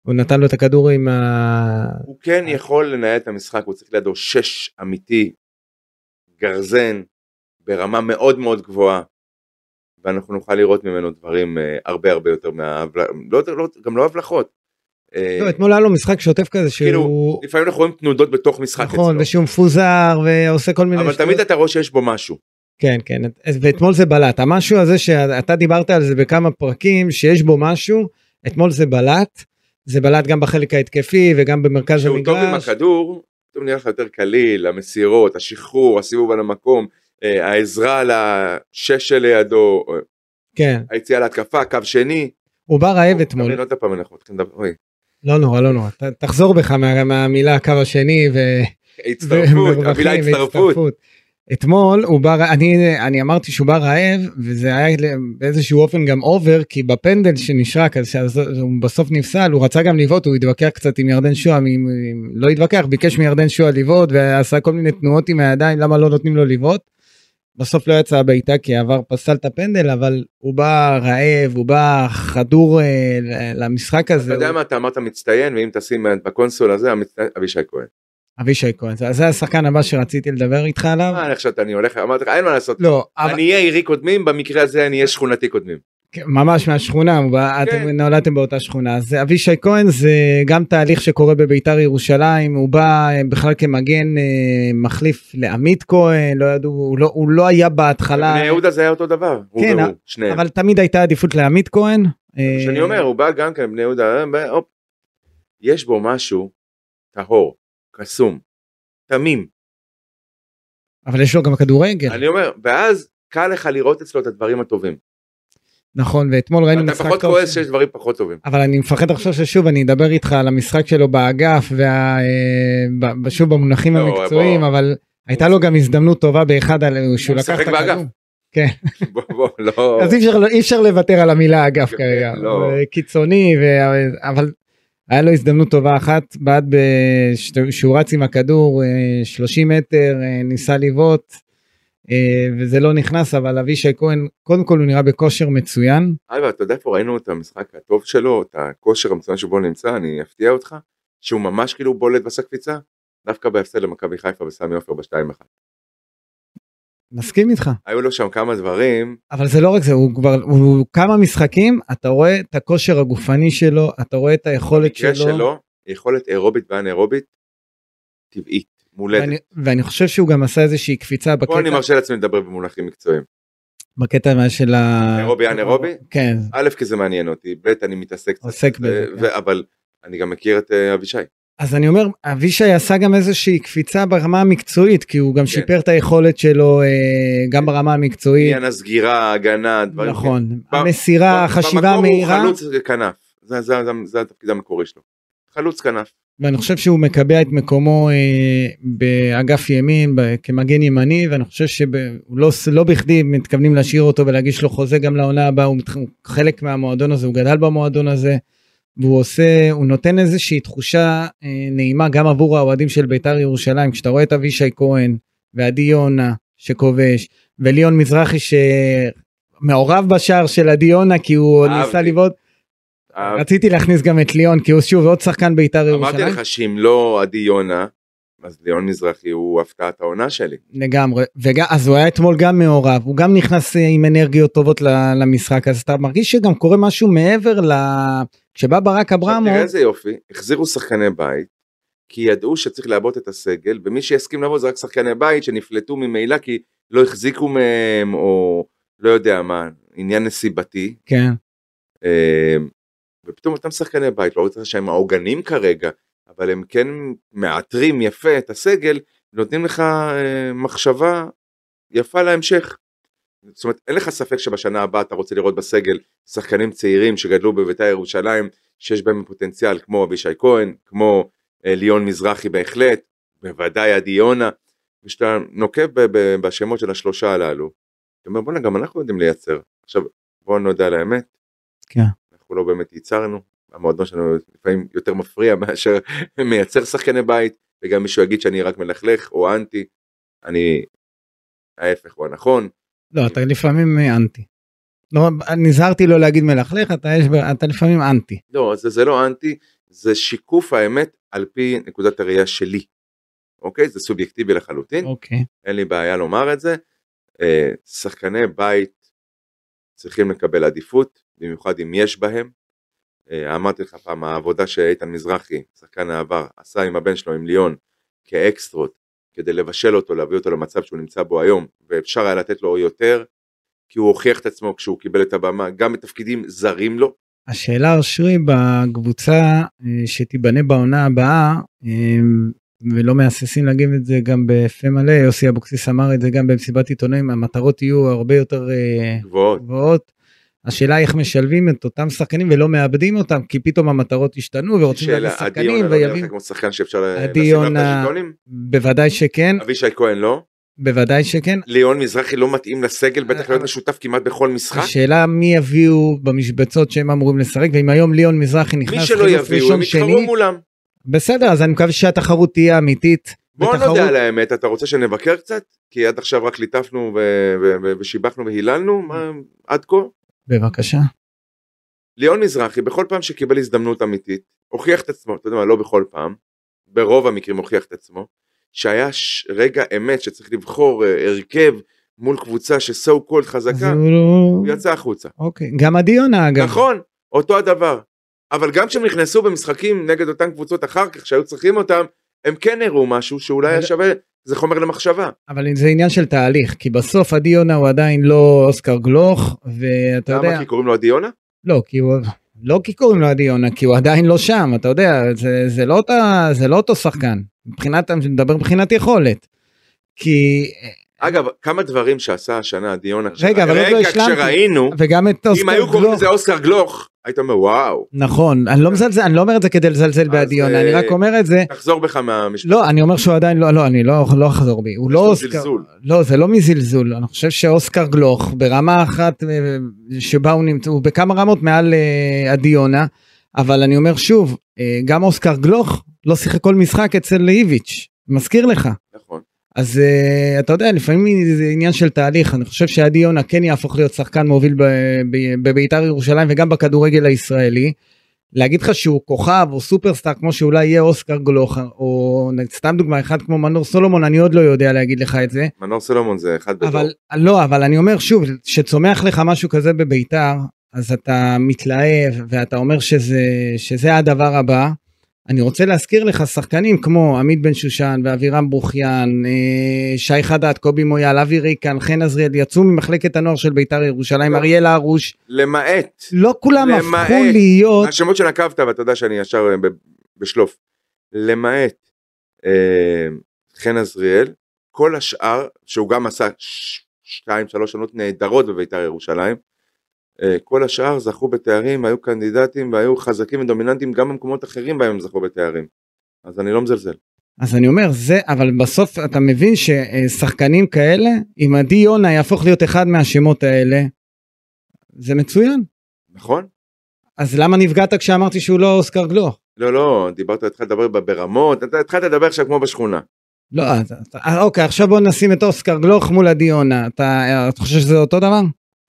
B: הוא נתן לו את הכדור עם ה...
C: הוא כן יכול לנהל את המשחק, הוא צריך לידו שש אמיתי, גרזן, ברמה מאוד מאוד גבוהה, ואנחנו נוכל לראות ממנו דברים אה, הרבה הרבה יותר מההבלחות, לא, לא, גם לא הבלחות. אה,
B: לא, אתמול היה לו משחק שוטף כזה שהוא...
C: לפעמים אנחנו רואים תנודות בתוך משחק
B: נכון,
C: אצלו,
B: ושהוא מפוזר ועושה כל מיני...
C: אבל
B: שטויות.
C: תמיד אתה רואה שיש בו משהו.
B: כן, כן, את- ואתמול זה בלט. המשהו הזה שאתה דיברת על זה בכמה פרקים, שיש בו משהו, אתמול זה בלט. זה בלט גם בחלק ההתקפי וגם במרכז
C: שהוא טוב עם
B: המגרש.
C: הכדור, פתאום נראה לך יותר קליל, המסירות, השחרור, הסיבוב על המקום, אה, העזרה לשש שלידו, אה,
B: כן,
C: היציאה להתקפה, קו שני.
B: הוא בא רעב
C: אתה
B: אתמול.
C: מבין, עוד פעם אנחנו צריכים לדבר, אוי,
B: לא נורא, לא נורא. ת- תחזור בך מה- מהמילה הקו השני ו...
C: הצטרפות,
B: ומרווחים,
C: המילה הצטרפות.
B: אתמול הוא בא, אני, אני אמרתי שהוא בא רעב וזה היה באיזשהו אופן גם אובר כי בפנדל שנשרק אז שאז הוא בסוף נפסל הוא רצה גם לבעוט הוא התווכח קצת עם ירדן שועה, עם, עם, לא התווכח ביקש מירדן שועה לבעוט ועשה כל מיני תנועות עם הידיים למה לא נותנים לו לבעוט. בסוף לא יצאה הבעיטה כי עבר פסל את הפנדל אבל הוא בא רעב הוא בא חדור אה, ל- למשחק הזה.
C: אתה יודע
B: הוא-
C: מה, אתה אמרת מצטיין, ואם תשים בקונסול הזה, המצטיין- אבישי כהן.
B: אבישי כהן זה זה השחקן הבא שרציתי לדבר איתך עליו.
C: מה, אה, אני חשבת, אני הולך, אמרתי לך, אין מה לעשות.
B: לא, אבל-
C: אני אהיה עירי קודמים, במקרה הזה אני אהיה שכונתי קודמים.
B: כן, ממש מהשכונה, הוא בא-
C: כן.
B: אתם נולדתם באותה שכונה. אז אבישי כהן זה גם תהליך שקורה בביתר ירושלים, הוא בא אה, בכלל כמגן אה, מחליף לעמית כהן, לא ידעו, הוא לא, הוא לא היה בהתחלה,
C: בני יהודה זה היה אותו דבר, הוא
B: כן,
C: והוא, שניהם.
B: אבל תמיד הייתה עדיפות לעמית כהן. אה,
C: שאני אומר, הוא בא גם כן, בני יהודה, אה, הופ. יש בו משהו טהור, קסום, תמים.
B: אבל יש לו גם כדורגל,
C: אני אומר, ואז קל לך לראות אצלו את הדברים הטובים.
B: נכון, ואתמול ראינו
C: אתה
B: משחק
C: פחות
B: טוב.
C: כועס
B: שלו.
C: שיש דברים פחות טובים.
B: אבל אני מפחד עכשיו ששוב אני אדבר איתך על המשחק שלו באגף וה... אה, ב- ב- שוב במונחים
C: לא,
B: המקצועיים,
C: בוא.
B: אבל הייתה לו גם הזדמנות טובה באחד על... שהוא לקח את
C: משחק באגף.
B: הכדור.
C: בוא, בוא, לא.
B: אז אי אפשר, אי אפשר לוותר על המילה אגף
C: יפה,
B: כרגע,
C: לא.
B: אבל קיצוני, ו... אבל היה לו הזדמנות טובה אחת, בעט בש- שהוא רץ עם הכדור אה, 30 מטר, אה, ניסה לבעוט, אה, וזה לא נכנס, אבל אבישי כהן, קודם כל הוא נראה בכושר מצוין,
C: אבא, אתה אה, יודע איפה ראינו את המשחק הטוב שלו, את הכושר המצוין שבו הוא נמצא, אני אפתיע אותך, שהוא ממש כאילו בולט ועשה קפיצה, דווקא בהפסד למכבי חיפה וסמי עופר ב-2-1.
B: מסכים איתך.
C: היו לו שם כמה דברים,
B: אבל זה לא רק זה, הוא כבר, הוא כמה משחקים, אתה רואה את הכושר הגופני שלו, אתה רואה את היכולת
C: במקרה
B: שלו.
C: שלו, יכולת אירובית ואנאירובית, טבעית,
B: ואני,
C: מולדת.
B: ואני חושב שהוא גם עשה איזושהי קפיצה בקטע,
C: פה אני מרשה לעצמי לדבר במונחים מקצועיים.
B: בקטע מה של ה...
C: אירובי, אנאירובי?
B: כן,
C: א', כי זה מעניין אותי, ב', אני מתעסק קצת, אה,
B: עוסק בזה,
C: ו-
B: כן.
C: ו- אבל אני גם מכיר את אה, אבישי.
B: אז אני אומר, אבישי עשה גם איזושהי קפיצה ברמה המקצועית, כי הוא גם
C: כן.
B: שיפר את היכולת שלו אה, גם ברמה המקצועית.
C: עניין הסגירה, ההגנה, כן, דברים. כן.
B: נכון.
C: ב-
B: המסירה, החשיבה המהירה,
C: במקום לא, הוא חלוץ כנף, זה- זה- זה- זה התפקיד המקורי שלו. חלוץ כנף.
B: ואני חושב שהוא מקבע את מקומו אה, באגף ימין, ב- כמגן ימני, ואני חושב שלא לא בכדי מתכוונים להשאיר אותו ולהגיש לו חוזה גם לעונה הבאה, הוא מת- הוא חלק מהמועדון הזה, הוא גדל במועדון הזה, והוא עושה, הוא נותן איזושהי תחושה אה, נעימה גם עבור האוהדים של בית"ר ירושלים, כשאתה רואה את אבישי כהן ועדי יונה שכובש, וליון מזרחי שמעורב בשער של עדי יונה כי הוא
C: אהבתי.
B: ניסה לבעוט,
C: אה,
B: רציתי להכניס גם את ליון כי הוא שוב עוד שחקן בית"ר
C: אמרתי
B: ירושלים.
C: לך שאם לא עדי יונה, אז ליאון מזרחי הוא הפתעת העונה שלי.
B: לגמרי, וגם, אז הוא היה אתמול גם מעורב, הוא גם נכנס אה, עם אנרגיות טובות ל- למשחק, אז אתה מרגיש שגם קורה משהו מעבר ל... כשבא ברק
C: עכשיו,
B: אברמוב,
C: תראה איזה יופי, החזירו שחקני בית, כי ידעו שצריך לעבות את הסגל, ומי שיסכים לעבוד זה רק שחקני בית שנפלטו ממילא כי לא החזיקו מהם, או לא יודע מה, עניין נסיבתי,
B: כן,
C: אה, ופתאום אותם שחקני בית, לא רוצה שהם העוגנים כרגע, אבל הם כן מאתרים יפה את הסגל, נותנים לך אה, מחשבה יפה להמשך. זאת אומרת, אין לך ספק שבשנה הבאה אתה רוצה לראות בסגל שחקנים צעירים שגדלו בבית"ר ירושלים, שיש בהם פוטנציאל, כמו אבישי כהן, כמו אה, ליאון מזרחי בהחלט, בוודאי עדי יונה, וכשאתה נוקב ב- ב- בשמות של השלושה הללו, אתה אומר בואנה גם אנחנו יודעים לייצר. עכשיו בואו נודה על האמת,
B: כן.
C: אנחנו לא באמת ייצרנו, המועדון שלנו לפעמים יותר מפריע מאשר מייצר שחקני בית, וגם מישהו יגיד שאני רק מלכלך או אנטי, אני, ההפך הוא הנכון,
B: לא, אתה לפעמים אנטי. לא, נזהרתי לא להגיד מלכלך, אתה, יש, אתה לפעמים אנטי.
C: לא זה, זה לא אנטי, זה שיקוף האמת על פי נקודת הראייה שלי, אוקיי? זה סובייקטיבי לחלוטין,
B: אוקיי.
C: אין לי בעיה לומר את זה, אה, שחקני בית צריכים לקבל עדיפות, במיוחד אם יש בהם. אה, אמרתי לך פעם, העבודה שאיתן מזרחי, שחקן העבר, עשה עם הבן שלו, עם ליאון, כאקסטרות, כדי לבשל אותו, להביא אותו למצב שהוא נמצא בו היום, ואפשר היה לתת לו יותר, כי הוא הוכיח את עצמו כשהוא קיבל את הבמה, גם בתפקידים זרים לא, לו,
B: השאלה אושרי בקבוצה אה, שתיבנה בעונה הבאה, אה, ולא מהססים להגיד את זה גם בפה מלא, יוסי אבוקסיס אמר את זה גם במסיבת עיתונאים, המטרות יהיו הרבה יותר אה,
C: גבוהות.
B: גבוהות. השאלה איך משלבים את אותם שחקנים ולא מאבדים אותם, כי פתאום המטרות השתנו ורוצים להביא
C: שאלה, עדי
B: שחקנים
C: יונה לא נראה
B: ויביאו,
C: לך כמו שחקן שאפשר אה,
B: עדי
C: לשים עליו את
B: יונה-
C: השלטונים?
B: בוודאי שכן,
C: אבישי כהן לא?
B: בוודאי שכן.
C: ליאון מזרחי לא מתאים לסגל, בטח
B: אבל-
C: להיות משותף כמעט בכל משחק?
B: השאלה מי יביאו במשבצות שהם אמורים לשחק, ואם היום ליאון מזרחי
C: מי
B: נכנס
C: שלא
B: חילוף
C: יביאו, הם
B: ראשון
C: יתחרו
B: שני,
C: מולם.
B: בסדר, אז אני מקווה שהתחרות תהיה אמיתית.
C: בוא
B: ותחרות-
C: נודה על האמת, אתה רוצה שנבקר קצת? כי עד עכשיו רק ליטפנו ו- ו- ו- ושיבחנו והיללנו, מה- עד כה.
B: בבקשה.
C: ליאון מזרחי, בכל פעם שקיבל הזדמנות אמיתית, הוכיח את עצמו, אתה יודע מה, לא בכל פעם, ברוב המקרים הוכיח את עצמו, שהיה ש- רגע אמת שצריך לבחור אה, הרכב מול קבוצה שסו קולד
B: אז
C: חזקה,
B: הוא לא...
C: הוא יצא החוצה.
B: אוקיי, גם עדי יונה אגב.
C: נכון, אותו הדבר. אבל גם כשהם נכנסו במשחקים נגד אותן קבוצות אחר כך שהיו צריכים אותם, הם כן הראו משהו שאולי היה
B: אבל-
C: שווה, זה חומר למחשבה.
B: אבל זה עניין של תהליך, כי בסוף עדי יונה הוא עדיין לא אוסקר גלוך, ואתה יודע...
C: למה? כי קוראים לו עדי יונה?
B: לא, כי הוא... לא כי קוראים לו עדי יונה, כי הוא עדיין לא שם, אתה יודע, זה, זה, לא, אותה, זה לא אותו שחקן. מבחינת, אני מדבר מבחינת יכולת. כי...
C: אגב, כמה דברים שעשה השנה עדי יונה.
B: אה. רגע, אבל עוד לא השלמתי.
C: רגע, כשראינו,
B: וגם את
C: אם
B: אוסקר
C: היו קוראים
B: גלוך.
C: לזה אוסקר גלוך, היית אומר וואו,
B: נכון, אני לא מזלזל, אני לא אומר את זה כדי לזלזל
C: אז,
B: בעדי יונה,
C: אה,
B: אני רק אומר את זה.
C: תחזור בך מהמשפט.
B: לא, אני אומר שהוא עדיין לא, לא, אני לא לא אחזור בי, הוא
C: יש
B: לא
C: לו
B: אוסקר,
C: זלזול.
B: לא, זה לא מזלזול, אני חושב שאוסקר גלוך ברמה אחת אה, שבה הוא נמצא, הוא בכמה רמות מעל אה, עדי יונה, אבל אני אומר שוב, אה, גם אוסקר גלוך לא שיחק כל משחק אצל איביץ', מזכיר לך.
C: נכון.
B: אז אה, אתה יודע, לפעמים זה עניין של תהליך, אני חושב שעדי יונה כן יהפוך להיות שחקן מוביל ב- ב- בבית"ר ירושלים וגם בכדורגל הישראלי. להגיד לך שהוא כוכב או סופרסטאר כמו שאולי יהיה אוסקר גלוך או נגיד, סתם דוגמה אחד כמו מנור סולומון אני עוד לא יודע להגיד לך את זה
C: מנור סלומון זה אחד בדור.
B: אבל לא אבל אני אומר שוב שצומח לך משהו כזה בביתר אז אתה מתלהב ואתה אומר שזה שזה הדבר הבא. אני רוצה להזכיר לך שחקנים כמו עמית בן שושן ואבירם ברוכיאן, אה, שי חדד, קובי מויאל, אבי ריקן, חן עזריאל, יצאו ממחלקת הנוער של ביתר ירושלים,
C: לא.
B: אריאל הרוש,
C: למעט,
B: לא כולם
C: למעט.
B: הפכו להיות,
C: השמות שנקבת ואתה יודע שאני ישר אה, ב- בשלוף. למעט אה, חן עזריאל, כל השאר, שהוא גם עשה ש- שתיים שלוש שנות נהדרות בבית"ר ירושלים, אה, כל השאר זכו בתארים, היו קנדידטים והיו חזקים ודומיננטיים גם במקומות אחרים בהם הם זכו בתארים. אז אני לא מזלזל.
B: אז אני אומר זה, אבל בסוף אתה מבין ששחקנים כאלה, אם עדי יונה יהפוך להיות אחד מהשמות האלה, זה מצוין.
C: נכון?
B: אז למה נפגעת כשאמרתי שהוא לא אוסקר גלוך?
C: לא, לא, דיברת, התחלת לדבר ב- ברמות, אתה התחלת לדבר עכשיו כמו בשכונה.
B: לא, אז, אה, אוקיי, עכשיו בוא נשים את אוסקר גלוך מול עדי יונה. אתה, אה, אתה חושב שזה אותו דבר?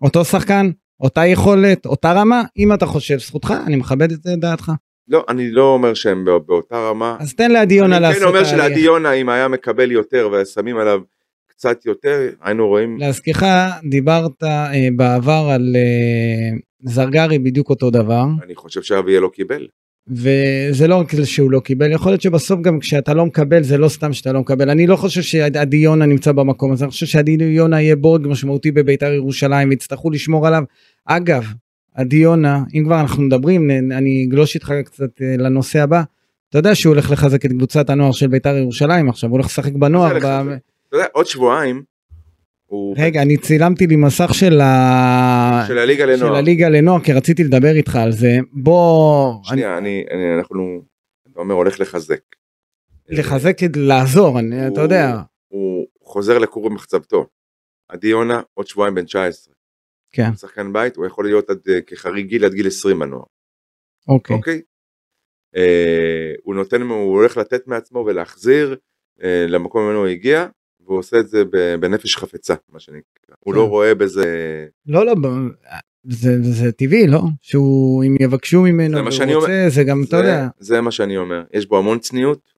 B: אותו שחקן? אותה יכולת? אותה רמה? אם אתה חושב, זכותך, אני מכבד את אה, דעתך.
C: לא, אני לא אומר שהם בא- באותה רמה,
B: אז תן לעדי יונה
C: אני
B: לעשות...
C: כן אומר שלעדי
B: תהליך.
C: יונה אם היה מקבל יותר ושמים עליו
B: לא.
C: קצת יותר היינו רואים
B: להזכירך, דיברת אה, בעבר על אה, זרגרי בדיוק אותו דבר,
C: אני חושב שאביה לא קיבל.
B: וזה לא רק שהוא לא קיבל, יכול להיות שבסוף גם כשאתה לא מקבל זה לא סתם שאתה לא מקבל. אני לא חושב שעדי יונה נמצא במקום הזה, אני חושב שעדי יונה יהיה בורג משמעותי בביתר ירושלים, יצטרכו לשמור עליו. אגב, עדי יונה, אם כבר אנחנו מדברים, נ- אני אגלוש איתך קצת אה, לנושא הבא. אתה יודע שהוא הולך לחזק את קבוצת הנוער של ביתר ירושלים עכשיו, הוא הולך לשחק בנוער.
C: מה זה
B: ב-
C: לחזק? אתה יודע, עוד שבועיים, הוא...
B: רגע, אני צילמתי לי מסך של ה...
C: של הליגה
B: של
C: לנוער.
B: הליגה לנוער, כי רציתי לדבר איתך על זה. בוא...
C: שנייה, אני, אני- אנחנו, אתה אומר, הולך לחזק.
B: לחזק, את- לעזור, אני- אתה
C: הוא-
B: יודע.
C: הוא חוזר לכור במחצבתו. עדי יונה עוד שבועיים בן 19.
B: כן.
C: הוא שחקן בית, הוא יכול להיות עד, אה, כחריג גיל עד גיל 20 הנוער,
B: אוקיי.
C: אוקיי? אה, הוא נותן, הוא הולך לתת מעצמו ולהחזיר אה, למקום ממנו הוא הגיע, והוא עושה את זה ב- בנפש חפצה, מה שנקרא. הוא
B: כן.
C: לא רואה בזה,
B: לא, לא, ב- זה, זה טבעי, לא? שהוא, אם יבקשו ממנו
C: זה מה שאני
B: והוא רוצה, זה גם, אתה
C: זה-
B: יודע,
C: זה מה שאני אומר. יש בו המון צניעות.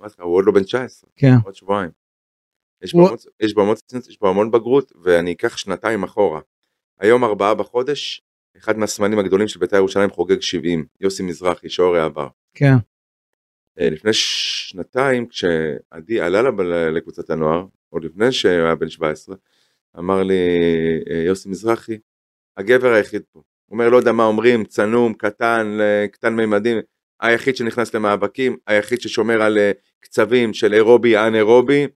C: אמרתי לך, הוא עוד לא בן 19.
B: כן.
C: עוד שבועיים. יש
B: הוא-
C: בו המון- יש בו המון צניעות, יש בו המון בגרות, ואני אקח שנתיים אחורה. היום ארבעה בחודש, אחד מהסמנים הגדולים של בית"ר ירושלים חוגג 70, יוסי מזרחי, שוער העבר.
B: כן,
C: אה, לפני שנתיים, כשעדי עלה לב- לקבוצת הנוער, עוד לפני שהוא היה בן 17, אמר לי אה, יוסי מזרחי, הגבר היחיד פה. הוא אומר, לא יודע מה אומרים, צנום, קטן, אה, קטן מימדים, היחיד שנכנס למאבקים, היחיד ששומר על אה, קצבים של אירובי, אנאירובי,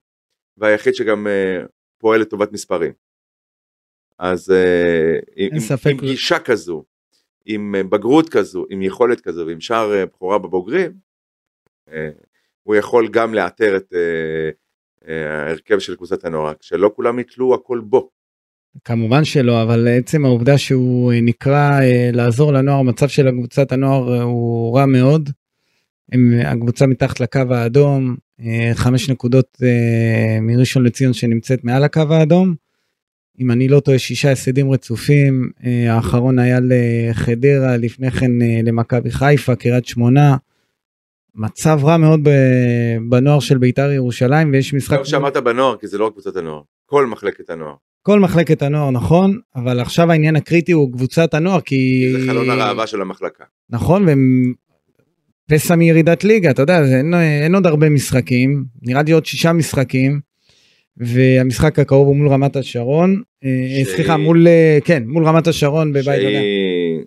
C: והיחיד שגם אה, פועל לטובת מספרים. אז אה, עם, עם,
B: ספק.
C: עם גישה כזו, עם אה, בגרות כזו, עם יכולת כזו ועם שער אה, בכורה בבוגרים, אה, הוא יכול גם לאתר את אה, אה, ההרכב של קבוצת הנוער, רק שלא כולם יתלו הכל בו.
B: כמובן שלא, אבל עצם העובדה שהוא אה, נקרא אה, לעזור לנוער, המצב של קבוצת הנוער אה, הוא רע מאוד. הם, אה, הקבוצה מתחת לקו האדום, אה, חמש נקודות אה, מראשון לציון שנמצאת מעל הקו האדום. אם אני לא טועה, שישה הפסדים רצופים, אה, האחרון היה לחדרה, לפני כן אה, למכבי חיפה, קריית שמונה. מצב רע מאוד ב- בנוער של בית"ר ירושלים, ויש משחק...
C: כמו שאמרת בנוער, כי זה לא רק קבוצת הנוער, כל מחלקת הנוער.
B: כל מחלקת הנוער נכון אבל עכשיו העניין הקריטי הוא קבוצת הנוער כי
C: זה חלון הראווה של המחלקה.
B: נכון והם פסע מירידת ליגה אתה יודע זה אין, אין עוד הרבה משחקים נראה לי עוד שישה משחקים. והמשחק הקרוב הוא מול רמת השרון אה,
C: שהיא-
B: סליחה מול אה, כן מול רמת השרון בבית שהיא...
C: שהיא-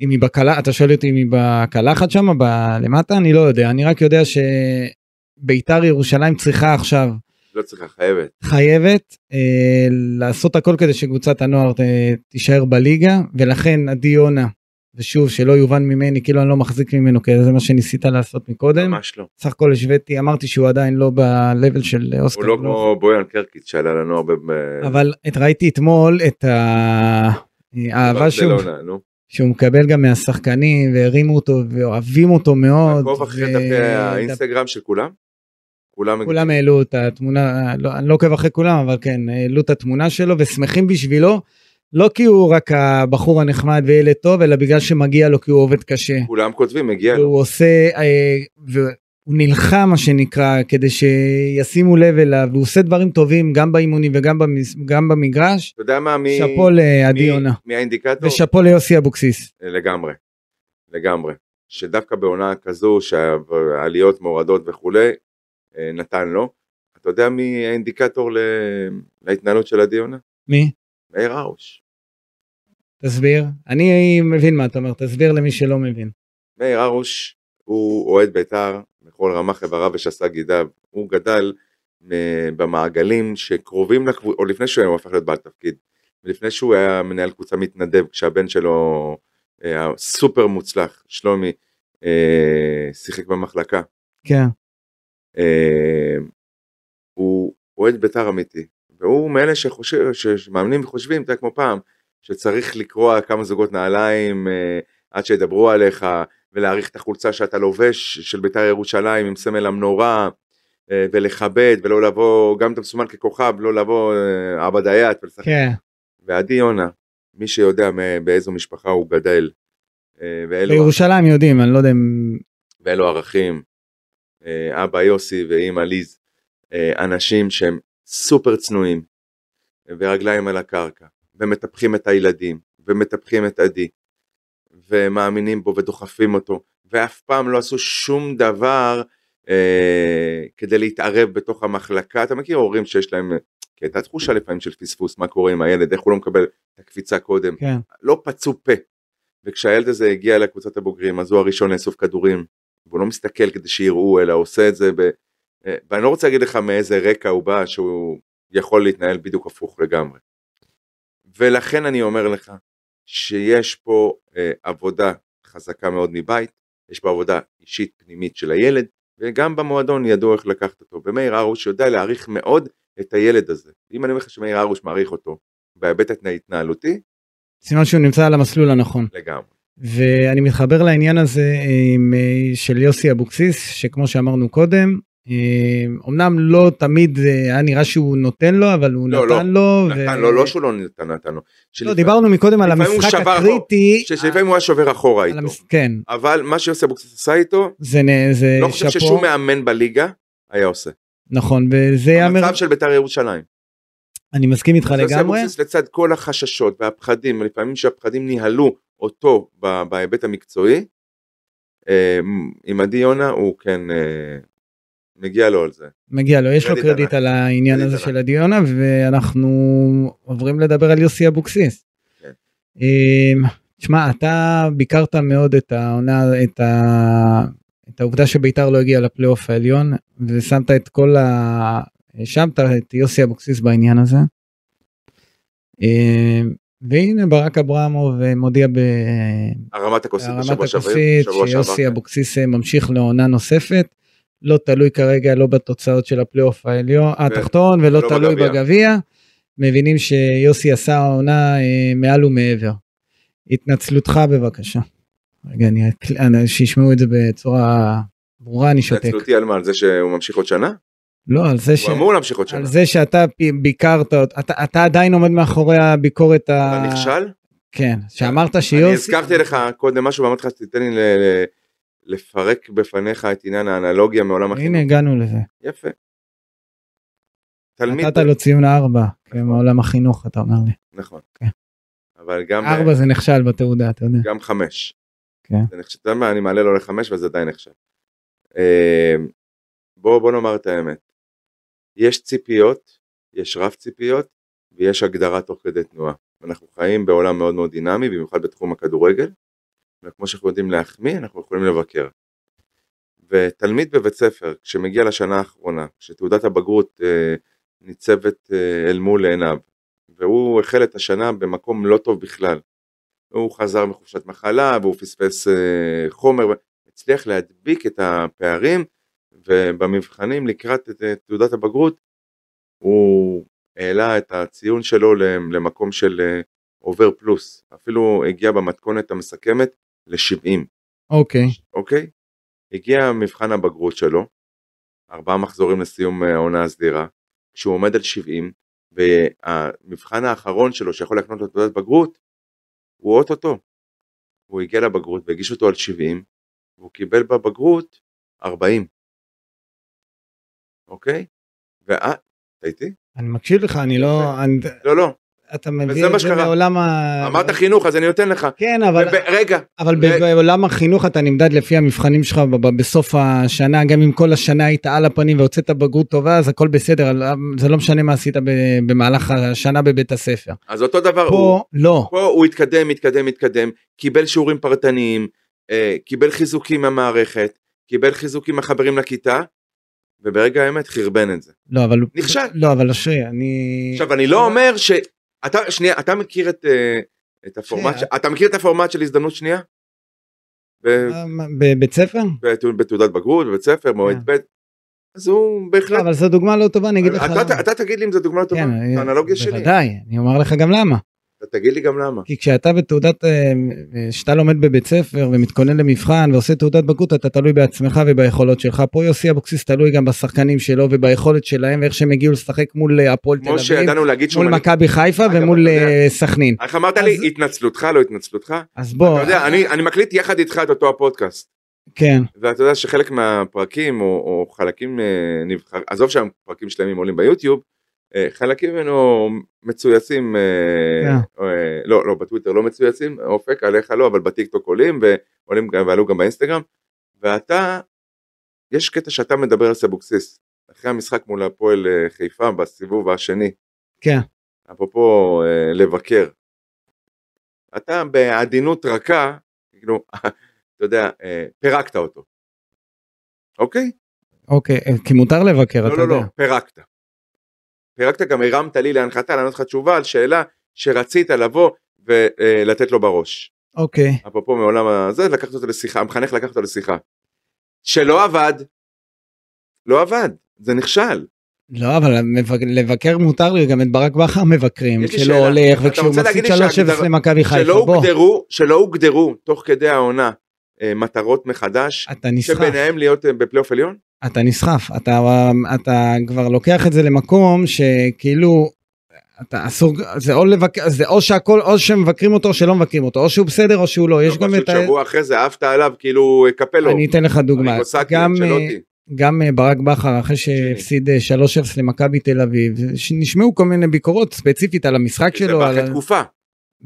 B: אם היא בקלה אתה שואל אותי אם היא בקלחת שם ב- למטה אני לא יודע אני רק יודע שביתר ירושלים צריכה עכשיו
C: לא צריכה, חייבת.
B: חייבת אה, לעשות הכל כדי שקבוצת הנוער ת, תישאר בליגה ולכן עדי יונה ושוב שלא יובן ממני כאילו אני לא מחזיק ממנו כי זה מה שניסית לעשות מקודם
C: ממש לא.
B: סך הכל השוויתי אמרתי שהוא עדיין לא ב-level של אוסקר
C: הוא לא
B: גלוך.
C: כמו בויאן קרקיס שעלה לנוער ב- ב-
B: אבל את, ראיתי אתמול את ה- אה, האהבה שהוא,
C: בברצלונה, נו.
B: שהוא מקבל גם מהשחקנים והרימו אותו ואוהבים אותו מאוד
C: עקוב אחרי
B: ו-
C: דפי
B: דפ-
C: האינסטגרם של כולם. כולם
B: כולם העלו את התמונה, לא, אני לא עוקב אחרי כולם, אבל כן, העלו את התמונה שלו ושמחים בשבילו, לא כי הוא רק הבחור הנחמד וילד טוב, אלא בגלל שמגיע לו כי הוא עובד קשה.
C: כולם כותבים, מגיע לו.
B: והוא עושה, אה, והוא נלחם מה שנקרא, כדי שישימו לב אליו, והוא עושה דברים טובים גם באימונים וגם במס, גם במגרש.
C: אתה יודע מה? מי-
B: שאפו לעדי
C: מי-
B: יונה,
C: מי האינדיקטור?
B: ושאפו ליוסי אבוקסיס.
C: לגמרי, לגמרי. שדווקא בעונה כזו שהעליות מורדות וכולי, אה, נתן לו. אתה יודע מי האינדיקטור ל... להתנהלות של עדי יונה?
B: מי?
C: מאיר הרוש.
B: תסביר. אני מבין מה אתה אומר, תסביר למי שלא מבין.
C: מאיר הרוש הוא אוהד בית"ר בכל רמ"ח איבריו ושס"ה גידיו. הוא גדל אה, במעגלים שקרובים לקבוצה, או לפני שהוא הפך להיות בעל תפקיד, ולפני שהוא היה מנהל קבוצה מתנדב, כשהבן שלו היה סופר מוצלח, שלומי, אה, שיחק במחלקה.
B: כן,
C: אה, הוא אוהד בית"ר אמיתי, והוא מאלה שחושב, שמאמנים וחושבים, אתה יודע, כמו פעם, שצריך לקרוע כמה זוגות נעליים אה, עד שידברו עליך, ולהעריך את החולצה שאתה לובש של בית"ר ירושלים עם סמל המנורה, אה, ולכבד, ולא לבוא, גם אם אתה מסומן ככוכב, לא לבוא אה, עבד היאט ולשחק.
B: כן.
C: ועדי יונה, מי שיודע מ- באיזו משפחה הוא גדל, אה, ואלו
B: בירושלים יודעים, אני לא יודע אם...
C: ואלו ערכים. אה, אבא יוסי ואימא ליז, אה, אנשים שהם סופר צנועים, ורגליים על הקרקע, ומטפחים את הילדים, ומטפחים את עדי, ומאמינים בו ודוחפים אותו, ואף פעם לא עשו שום דבר אה, כדי להתערב בתוך המחלקה. אתה מכיר הורים שיש להם, כי הייתה תחושה לפעמים של פספוס, מה קורה עם הילד, איך הוא לא מקבל את הקפיצה קודם.
B: כן.
C: לא פצו פה. וכשהילד הזה הגיע לקבוצת הבוגרים אז הוא הראשון לאסוף כדורים. והוא לא מסתכל כדי שיראו אלא עושה את זה ב... אה, ואני לא רוצה להגיד לך מאיזה רקע הוא בא שהוא יכול להתנהל בדיוק הפוך לגמרי. ולכן אני אומר לך שיש פה אה, עבודה חזקה מאוד מבית, יש פה עבודה אישית פנימית של הילד וגם במועדון ידעו איך לקחת אותו ומאיר הרוש יודע להעריך מאוד את הילד הזה. אם אני אומר לך שמאיר הרוש מעריך אותו בהיבט ההתנהלותי
B: סימן שהוא נמצא על המסלול הנכון.
C: לגמרי.
B: ואני מתחבר לעניין הזה עם, אה, של יוסי אבוקסיס, שכמו שאמרנו קודם, אה, אמנם לא תמיד אה, היה נראה שהוא נותן לו, אבל הוא
C: לא,
B: נתן לו.
C: נתן
B: ו-
C: לו, לא שהוא לא נתן, נתן לו.
B: לא,
C: שלפעמים-
B: דיברנו מקודם על
C: לפעמים הוא
B: המשחק
C: שבר
B: הקריטי.
C: שלפעמים הוא היה שובר אחורה
B: על
C: איתו.
B: המש- כן,
C: אבל מה שיוסי אבוקסיס עשה איתו,
B: זה נ- זה
C: לא חושב
B: שאפו.
C: ששום מאמן בליגה היה עושה.
B: נכון, וזה יאמר,
C: המצב של בית"ר ירושלים.
B: אני מסכים איתך
C: יוסי
B: לגמרי.
C: אבוקסיס לצד כל החששות והפחדים, לפעמים שהפחדים ניהלו אותו ב- בהיבט המקצועי, אה, עם עדי יונה הוא כן, אה, מגיע לו על זה.
B: מגיע לו, יש לו
C: קרדיט
B: קרדיט
C: ענק.
B: על העניין
C: קרדיט
B: הזה
C: ענק.
B: של הדיונה, ואנחנו עוברים לדבר על יוסי אבוקסיס.
C: כן.
B: אמ, תשמע, אתה ביקרת מאוד את העונה, את, ה... את העובדה שביתר לא הגיעה לפלייאוף העליון, ושמת את כל ה... האשמת את יוסי אבוקסיס בעניין הזה. אמ, והנה ברק אברמוב אה, מודיע ב...
C: הרמת הכוסית
B: הרמת
C: בשבוע שעבר.
B: הכוסית
C: בשבוע שעבר,
B: שיוסי
C: כן.
B: אבוקסיס אה, ממשיך לעונה נוספת. לא תלוי כרגע לא בתוצאות של הפלייאוף העליון התחתון ולא
C: כן. ולא
B: תלוי
C: בגביע.
B: בגביע. מבינים שיוסי עשה העונה אה, מעל ומעבר. התנצלותך בבקשה. רגע, אני אקל- אני- שישמעו את זה בצורה ברורה אני שותק.
C: התנצלותי על מה? על זה שהוא ממשיך עוד שנה?
B: לא על זה ש...
C: הוא אמור להמשיך עוד שנה.
B: על זה שאתה פ- ביקרת, אות- אתה, אתה עדיין עומד מאחורי הביקורת ה...
C: אתה נכשל?
B: כן, שאמרת שיוסי...
C: אני הזכרתי לך קודם משהו ואמרתי לך תיתן לי ל- ל- לפרק בפניך את עניין האנלוגיה מעולם
B: הנה
C: החינוך.
B: הגענו לזה.
C: יפה. תלמיד.
B: נתת לו ציון ארבע, כן, מעולם החינוך אתה אומר לי.
C: נכון.
B: כן.
C: אבל גם
B: ארבע זה נכשל בתעודה, אתה יודע.
C: גם חמש.
B: כן.
C: זה נחשב, אתה יודע מה, אני מעלה לו לחמש וזה עדיין נחשב. אה, בוא בוא נאמר את האמת. יש ציפיות, יש רף ציפיות ויש הגדרה תוך כדי תנועה. אנחנו חיים בעולם מאוד מאוד דינמי, במיוחד בתחום הכדורגל, וכמו שאנחנו יודעים להחמיא, אנחנו יכולים לבקר. ותלמיד בבית ספר, כשמגיע לשנה האחרונה, כשתעודת הבגרות אה, ניצבת אה, אל מול עיניו, והוא החל את השנה במקום לא טוב בכלל, הוא חזר מחופשת מחלה והוא פספס אה, חומר, הצליח להדביק את הפערים ובמבחנים לקראת את, אה, תעודת הבגרות הוא העלה את הציון שלו ל- למקום של אה, עובר פלוס, אפילו הגיע במתכונת המסכמת ל-70,
B: אוקיי,
C: אוקיי? הגיע מבחן הבגרות שלו, ארבעה מחזורים לסיום אה, העונה הסדירה, כשהוא עומד על 70, והמבחן האחרון שלו שיכול להקנות לו תעודת בגרות, הוא אוטוטו. הוא הגיע לבגרות והגיש אותו על 70, והוא קיבל בבגרות 40. אוקיי? ואה, אתה איתי?
B: אני מקשיב לך, אני לא... אני-
C: לא, לא.
B: אתה מביא
C: וזה מה
B: את זה
C: שקרה.
B: מעולם ה...
C: אמרת חינוך, אז אני נותן לך.
B: כן, אה, אבל...
C: וב- רגע,
B: אבל ב-
C: ו-
B: בעולם החינוך אתה נמדד לפי המבחנים שלך ב- ב- בסוף השנה, גם אם כל השנה היית על הפנים והוצאת בגרות טובה, אז הכל בסדר, אבל זה לא משנה מה עשית ב- במהלך השנה בבית הספר.
C: אז אותו דבר אה, הוא.
B: פה לא.
C: פה הוא התקדם, התקדם, התקדם, קיבל שיעורים פרטניים, אה, קיבל חיזוקים מהמערכת, קיבל חיזוקים מהחברים לכיתה, וברגע האמת חרבן את זה.
B: לא, אבל...
C: נכשל.
B: לא, אבל אשרי, אני...
C: עכשיו אני לא אומר ש... אתה, שנייה, אתה מכיר את, אה, את הפורמט, ש...
B: שנייה.
C: אתה מכיר את הפורמט של הזדמנות שנייה? ב...
B: אה, מה, בבית ספר?
C: בת- בתעודת בגרות, בבית ספר, מועד ב', אז הוא בהחלט...
B: אה. אבל זו דוגמה לא טובה, אני אגיד לך...
C: אתה, אתה תגיד לי אם זו דוגמה לא טובה,
B: כן,
C: זו אנלוגיה שלי.
B: בוודאי, אני אומר לך גם למה.
C: אתה תגיד לי גם למה.
B: כי כשאתה בתעודת, אה, אה, כשאתה לומד בבית ספר ומתכונן למבחן ועושה תעודת בגרות, אתה תלוי בעצמך וביכולות שלך. פה יוסי אבוקסיס תלוי גם בשחקנים שלו וביכולת שלהם ואיך שהם הגיעו לשחק מול אה, הפועל תל
C: כמו
B: אביב,
C: שידענו להגיד שהוא...
B: מול
C: מנהיג.
B: מכבי חיפה
C: אגב,
B: ומול
C: אתה יודע-
B: אה, סכנין.
C: איך אמרת
B: אז-
C: לי, התנצלותך, לא התנצלותך?
B: אז בוא,
C: אתה יודע, אני, אני מקליט יחד איתך את אותו הפודקאסט,
B: כן,
C: ואתה יודע שחלק מהפרקים או, או חלקים אה, נבחר, עזוב שהפרקים שלמים עולים ביוטיוב, אה, חלקים ממנו מצויצים, אה,
B: כן.
C: אה, לא, לא, בטוויטר לא מצויצים, אופק, עליך לא, אבל בטיקטוק עולים, ועולים גם, ועלו גם באינסטגרם, ואתה, יש קטע שאתה מדבר על סבוקסיס, אחרי המשחק מול הפועל אה, חיפה בסיבוב השני,
B: כן.
C: אפרופו אה, לבקר. אתה בעדינות רכה, כאילו, אתה יודע, אה, פירקת אותו. אוקיי?
B: אוקיי, אה, כי מותר לבקר,
C: לא,
B: אתה
C: לא, לא,
B: יודע.
C: פירקת. פירקת גם הרמת לי להנחתה לענות לך תשובה על שאלה שרצית לבוא ולתת לו בראש.
B: אוקיי.
C: אפרופו מעולם הזה, לקחת אותו לשיחה, המחנך לקח אותו לשיחה. שלא עבד, לא עבד, זה נכשל.
B: לא, אבל המבק- לבקר מותר לי, גם את ברק בכר מבקרים,
C: יש לי
B: שלא
C: שאלה.
B: הולך,
C: אתה
B: וכשהוא
C: רוצה
B: מפסיד
C: להגיד לי
B: 3-0
C: שהגדר-
B: למכבי חיפה,
C: שלא
B: בוא,
C: הוגדרו, שלא הוגדרו תוך כדי העונה אה, מטרות מחדש,
B: אתה נסחף,
C: שביניהם להיות אה, בפלייאוף עליון?
B: אתה נסחף, אתה אתה כבר לוקח את זה למקום שכאילו, אתה אסור, זה או לבקר, זה או שהכל, או שמבקרים אותו או שלא מבקרים אותו, או שהוא בסדר או שהוא לא, יש
C: לא,
B: גם
C: פשוט
B: את ה...
C: שבוע אחרי זה עפת עליו כאילו אה, קפלו.
B: אני אתן לך דוגמה,
C: אני גוסקי,
B: גם, אה,
C: אנצ'לוטי.
B: גם אה, ברק בכר אחרי שהפסיד אה, 3-0 למכבי תל אביב ש- נשמעו כל מיני ביקורות ספציפית על המשחק
C: זה
B: שלו
C: בא
B: על...
C: אחרי תקופה.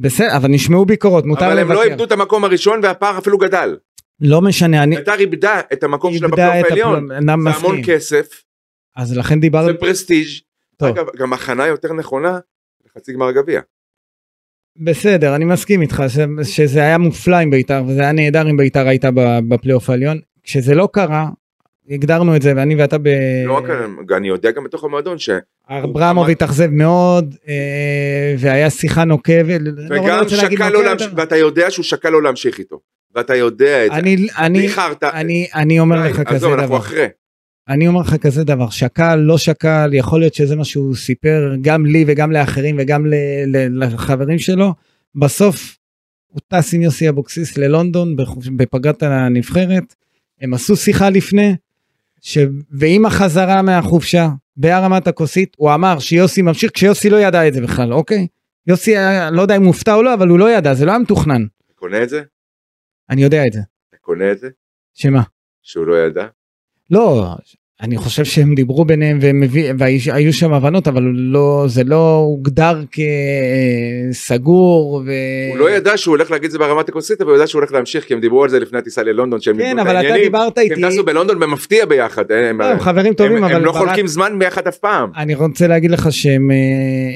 B: בסדר אבל נשמעו ביקורות מותר
C: אבל הם לא
B: לבקר
C: איבדו את המקום הראשון והפער אפילו גדל.
B: לא משנה אני
C: ביתר איבדה את המקום שלה
B: איבדה
C: בפלייאוף
B: את
C: העליון.
B: הפלומ- אני
C: זה המון
B: מסכים
C: כסף,
B: אז לכן
C: זה
B: דיברנו
C: פרסטיג'.
B: טוב. אה.
C: אגב, גם הכנה יותר נכונה לחצי גמר גביע.
B: בסדר אני מסכים איתך ש- שזה היה מופלא עם בית"ר וזה היה נהדר אם בית"ר הייתה ב- בפלייאוף העליון כשזה לא קרה הגדרנו את זה ואני ואתה ב...
C: לא רק, אני יודע גם בתוך המועדון ש...
B: אברמוב התאכזב מאוד אה, והיה שיחה נוקבת לא
C: וגם
B: רוצה להגיד
C: שקל
B: נוקבת,
C: לא להמשיך,
B: אבל-
C: ואתה יודע שהוא שקל לא להמשיך איתו. ואתה יודע את זה.
B: אני אני
C: ניחרת.
B: אני אני אומר לך כזה
C: עזוב, אנחנו
B: דבר
C: אחרי.
B: אני אומר לך כזה דבר שקל לא שקל יכול להיות שזה מה שהוא סיפר גם לי וגם לאחרים וגם ל, ל, לחברים שלו בסוף הוא טס עם יוסי אבוקסיס ללונדון בחופ- בפגרת הנבחרת הם עשו שיחה לפני ש, ועם החזרה מהחופשה בהרמת הכוסית הוא אמר שיוסי ממשיך כשיוסי לא ידע את זה בכלל אוקיי יוסי היה- לא יודע אם הוא הופתע או לא אבל הוא לא ידע זה לא היה מתוכנן
C: אתה קונה את זה?
B: אני יודע את זה
C: אתה קונה את זה?
B: שמה
C: שהוא לא ידע?
B: לא, אני חושב שהם דיברו ביניהם והם הביא- והיו היו שם הבנות, אבל הוא לא, זה לא הוגדר כסגור. ו...
C: הוא לא ידע שהוא הולך להגיד את זה ברמת הכוסית, אבל הוא ידע שהוא הולך להמשיך, כי הם דיברו על זה לפני הטיסה ללונדון, שהם
B: כן,
C: דיברו את
B: אבל אתה
C: העניינים.
B: דיברת
C: הם
B: איתי,
C: טסו בלונדון במפתיע ביחד. אה, הם-
B: לא, הם חברים טובים,
C: הם-
B: אבל
C: הם לא
B: ברק-
C: חולקים זמן ביחד אף פעם.
B: אני רוצה להגיד לך שהם, אה,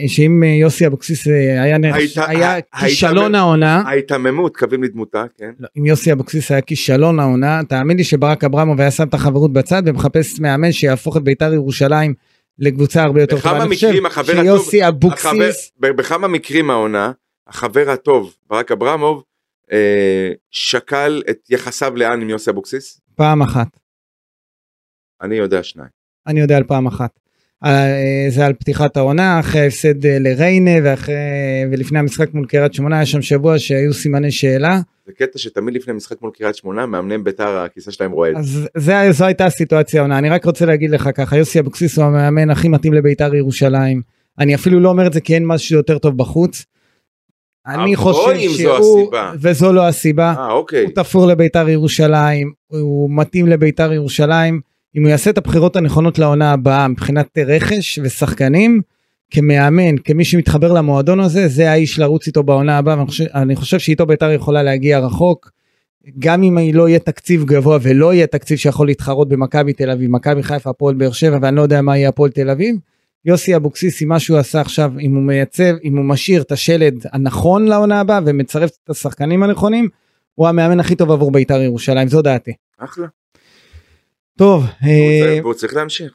B: שאם אה, יוסי אבוקסיס אה, היה, נח...
C: היית-
B: היה
C: היית-
B: כישלון העונה,
C: ההיתממות, קווים לדמותה, כן.
B: לא, אם יוסי אבוקסיס היה כישלון העונה, תאמין לי שברק אברמוב היה שם את החברות בצד ומחפש מאמן שיהפוך את בית"ר ירושלים לקבוצה הרבה יותר
C: בכמה
B: טובה. אני
C: מקרים
B: חושב
C: החבר הטוב-
B: שיוסי
C: החבר-
B: אבוקסיס,
C: ב- בכמה מקרים העונה, החבר הטוב, ברק אברמוב, אה, שקל את יחסיו לאן עם יוסי אבוקסיס?
B: פעם אחת.
C: אני יודע שניים.
B: אני יודע על פעם אחת. אה, זה על פתיחת העונה אחרי ההפסד אה, לריינה ואחרי ולפני המשחק מול קריית שמונה היה שם שבוע שהיו סימני שאלה
C: זה קטע שתמיד לפני משחק מול קריית שמונה, מאמני בית"ר, הכיסא שלהם רועד.
B: אז זה, זו הייתה הסיטואציה העונה אני רק רוצה להגיד לך ככה יוסי אבוקסיס הוא המאמן הכי מתאים לבית"ר ירושלים אני אפילו לא אומר את זה כי אין משהו יותר טוב בחוץ. אני
C: אבל
B: חושב
C: אם זו
B: שהוא
C: הסיבה.
B: וזו לא הסיבה
C: אה, אוקיי.
B: הוא תפור לביתר ירושלים, הוא מתאים לביתר ירושלים. אם הוא יעשה את הבחירות הנכונות לעונה הבאה מבחינת רכש ושחקנים, כמאמן, כמי שמתחבר למועדון הזה, זה האיש לרוץ איתו בעונה הבאה, ואני חושב, אני חושב שאיתו ביתר יכולה להגיע רחוק. גם אם לא יהיה תקציב גבוה ולא יהיה תקציב שיכול להתחרות במכבי תל אביב, מכבי חיפה, הפועל באר שבע, ואני לא יודע מה יהיה הפועל תל אביב, יוסי אבוקסיס, עם מה שהוא עשה עכשיו, אם הוא מייצב, אם הוא משאיר את השלד הנכון לעונה הבאה ומצרף את השחקנים הנכונים, הוא המאמן הכי טוב עבור בית"ר ירושלים, זו דעתי.
C: אחלה.
B: טוב,
C: והוא
B: אה,
C: צריך- והוא צריך להמשיך.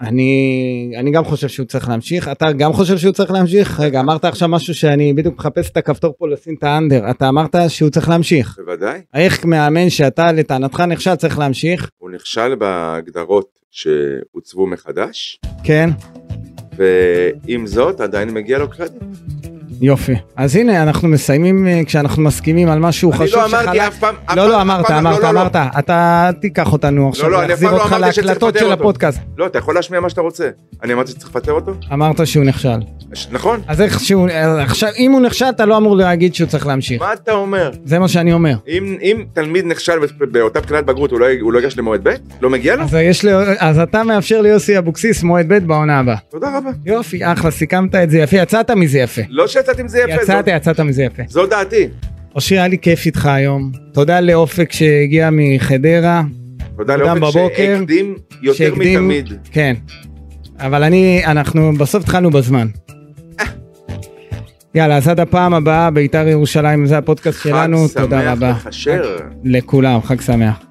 B: אני, אני גם חושב שהוא צריך להמשיך, אתה גם חושב שהוא צריך להמשיך? רגע, אמרת עכשיו משהו שאני בדיוק מחפש את הכפתור פה לשים את האנדר, אתה אמרת שהוא צריך להמשיך.
C: בוודאי.
B: איך מאמן שאתה לטענתך נכשל צריך להמשיך?
C: הוא נכשל בהגדרות שהוצבו מחדש,
B: כן,
C: ועם זאת עדיין מגיע לו קרדיט.
B: יופי. אז הנה, אנחנו מסיימים אה, כשאנחנו מסכימים על משהו
C: אני
B: חשוב
C: לא אמרתי אף פעם, אף
B: לא,
C: פעם-
B: לא,
C: אף
B: אמרת,
C: פעם- לא,
B: אמרת,
C: לא, לא.
B: אמרת. אתה תיקח אותנו עכשיו,
C: לא, אני אף
B: להחזיר
C: פעם לא
B: אותך
C: אמרתי שצריך
B: להקלטות
C: לפטר
B: של
C: אותו.
B: הפודקאסט.
C: לא, אתה יכול להשמיע מה שאתה רוצה. אני אמרתי שצריך לפטר אותו?
B: אמרת שהוא נכשל.
C: ש- נכון.
B: אז איך שהוא, אה, עכשיו, אם הוא נכשל, אתה לא אמור להגיד שהוא צריך להמשיך.
C: מה אתה אומר?
B: זה מה שאני אומר.
C: אם, אם תלמיד נכשל בפ- באותה בחינת בגרות, הוא לא, הוא לא ייגש למועד ב'? לא מגיע לו?
B: אז יש לי- אז אתה מאפשר ליוסי אבוקסיס מועד ב' בעונה הבאה.
C: תודה רבה.
B: יופי, אחלה, סיכמת את זה יפה, יצאת מזה יפה.
C: לא שיצאתי עם זה יפה.
B: יצאת,
C: זו,
B: יצאת מזה יפה.
C: זו דעתי.
B: אושרי, היה לי כיף איתך היום. תודה לאופק שהגיע מחדרה.
C: תודה
B: אדם
C: לאופן
B: בבוקר,
C: שהקדים יותר
B: שהקדים-
C: מתמיד.
B: כן. אבל אני, אנחנו בסוף התחלנו בזמן. יאללה, אז עד הפעם הבאה, בית"ר ירושלים, זה הפודקאסט שלנו.
C: חג
B: תודה
C: שמח
B: רבה
C: וכשר.
B: לכולם, חג שמח.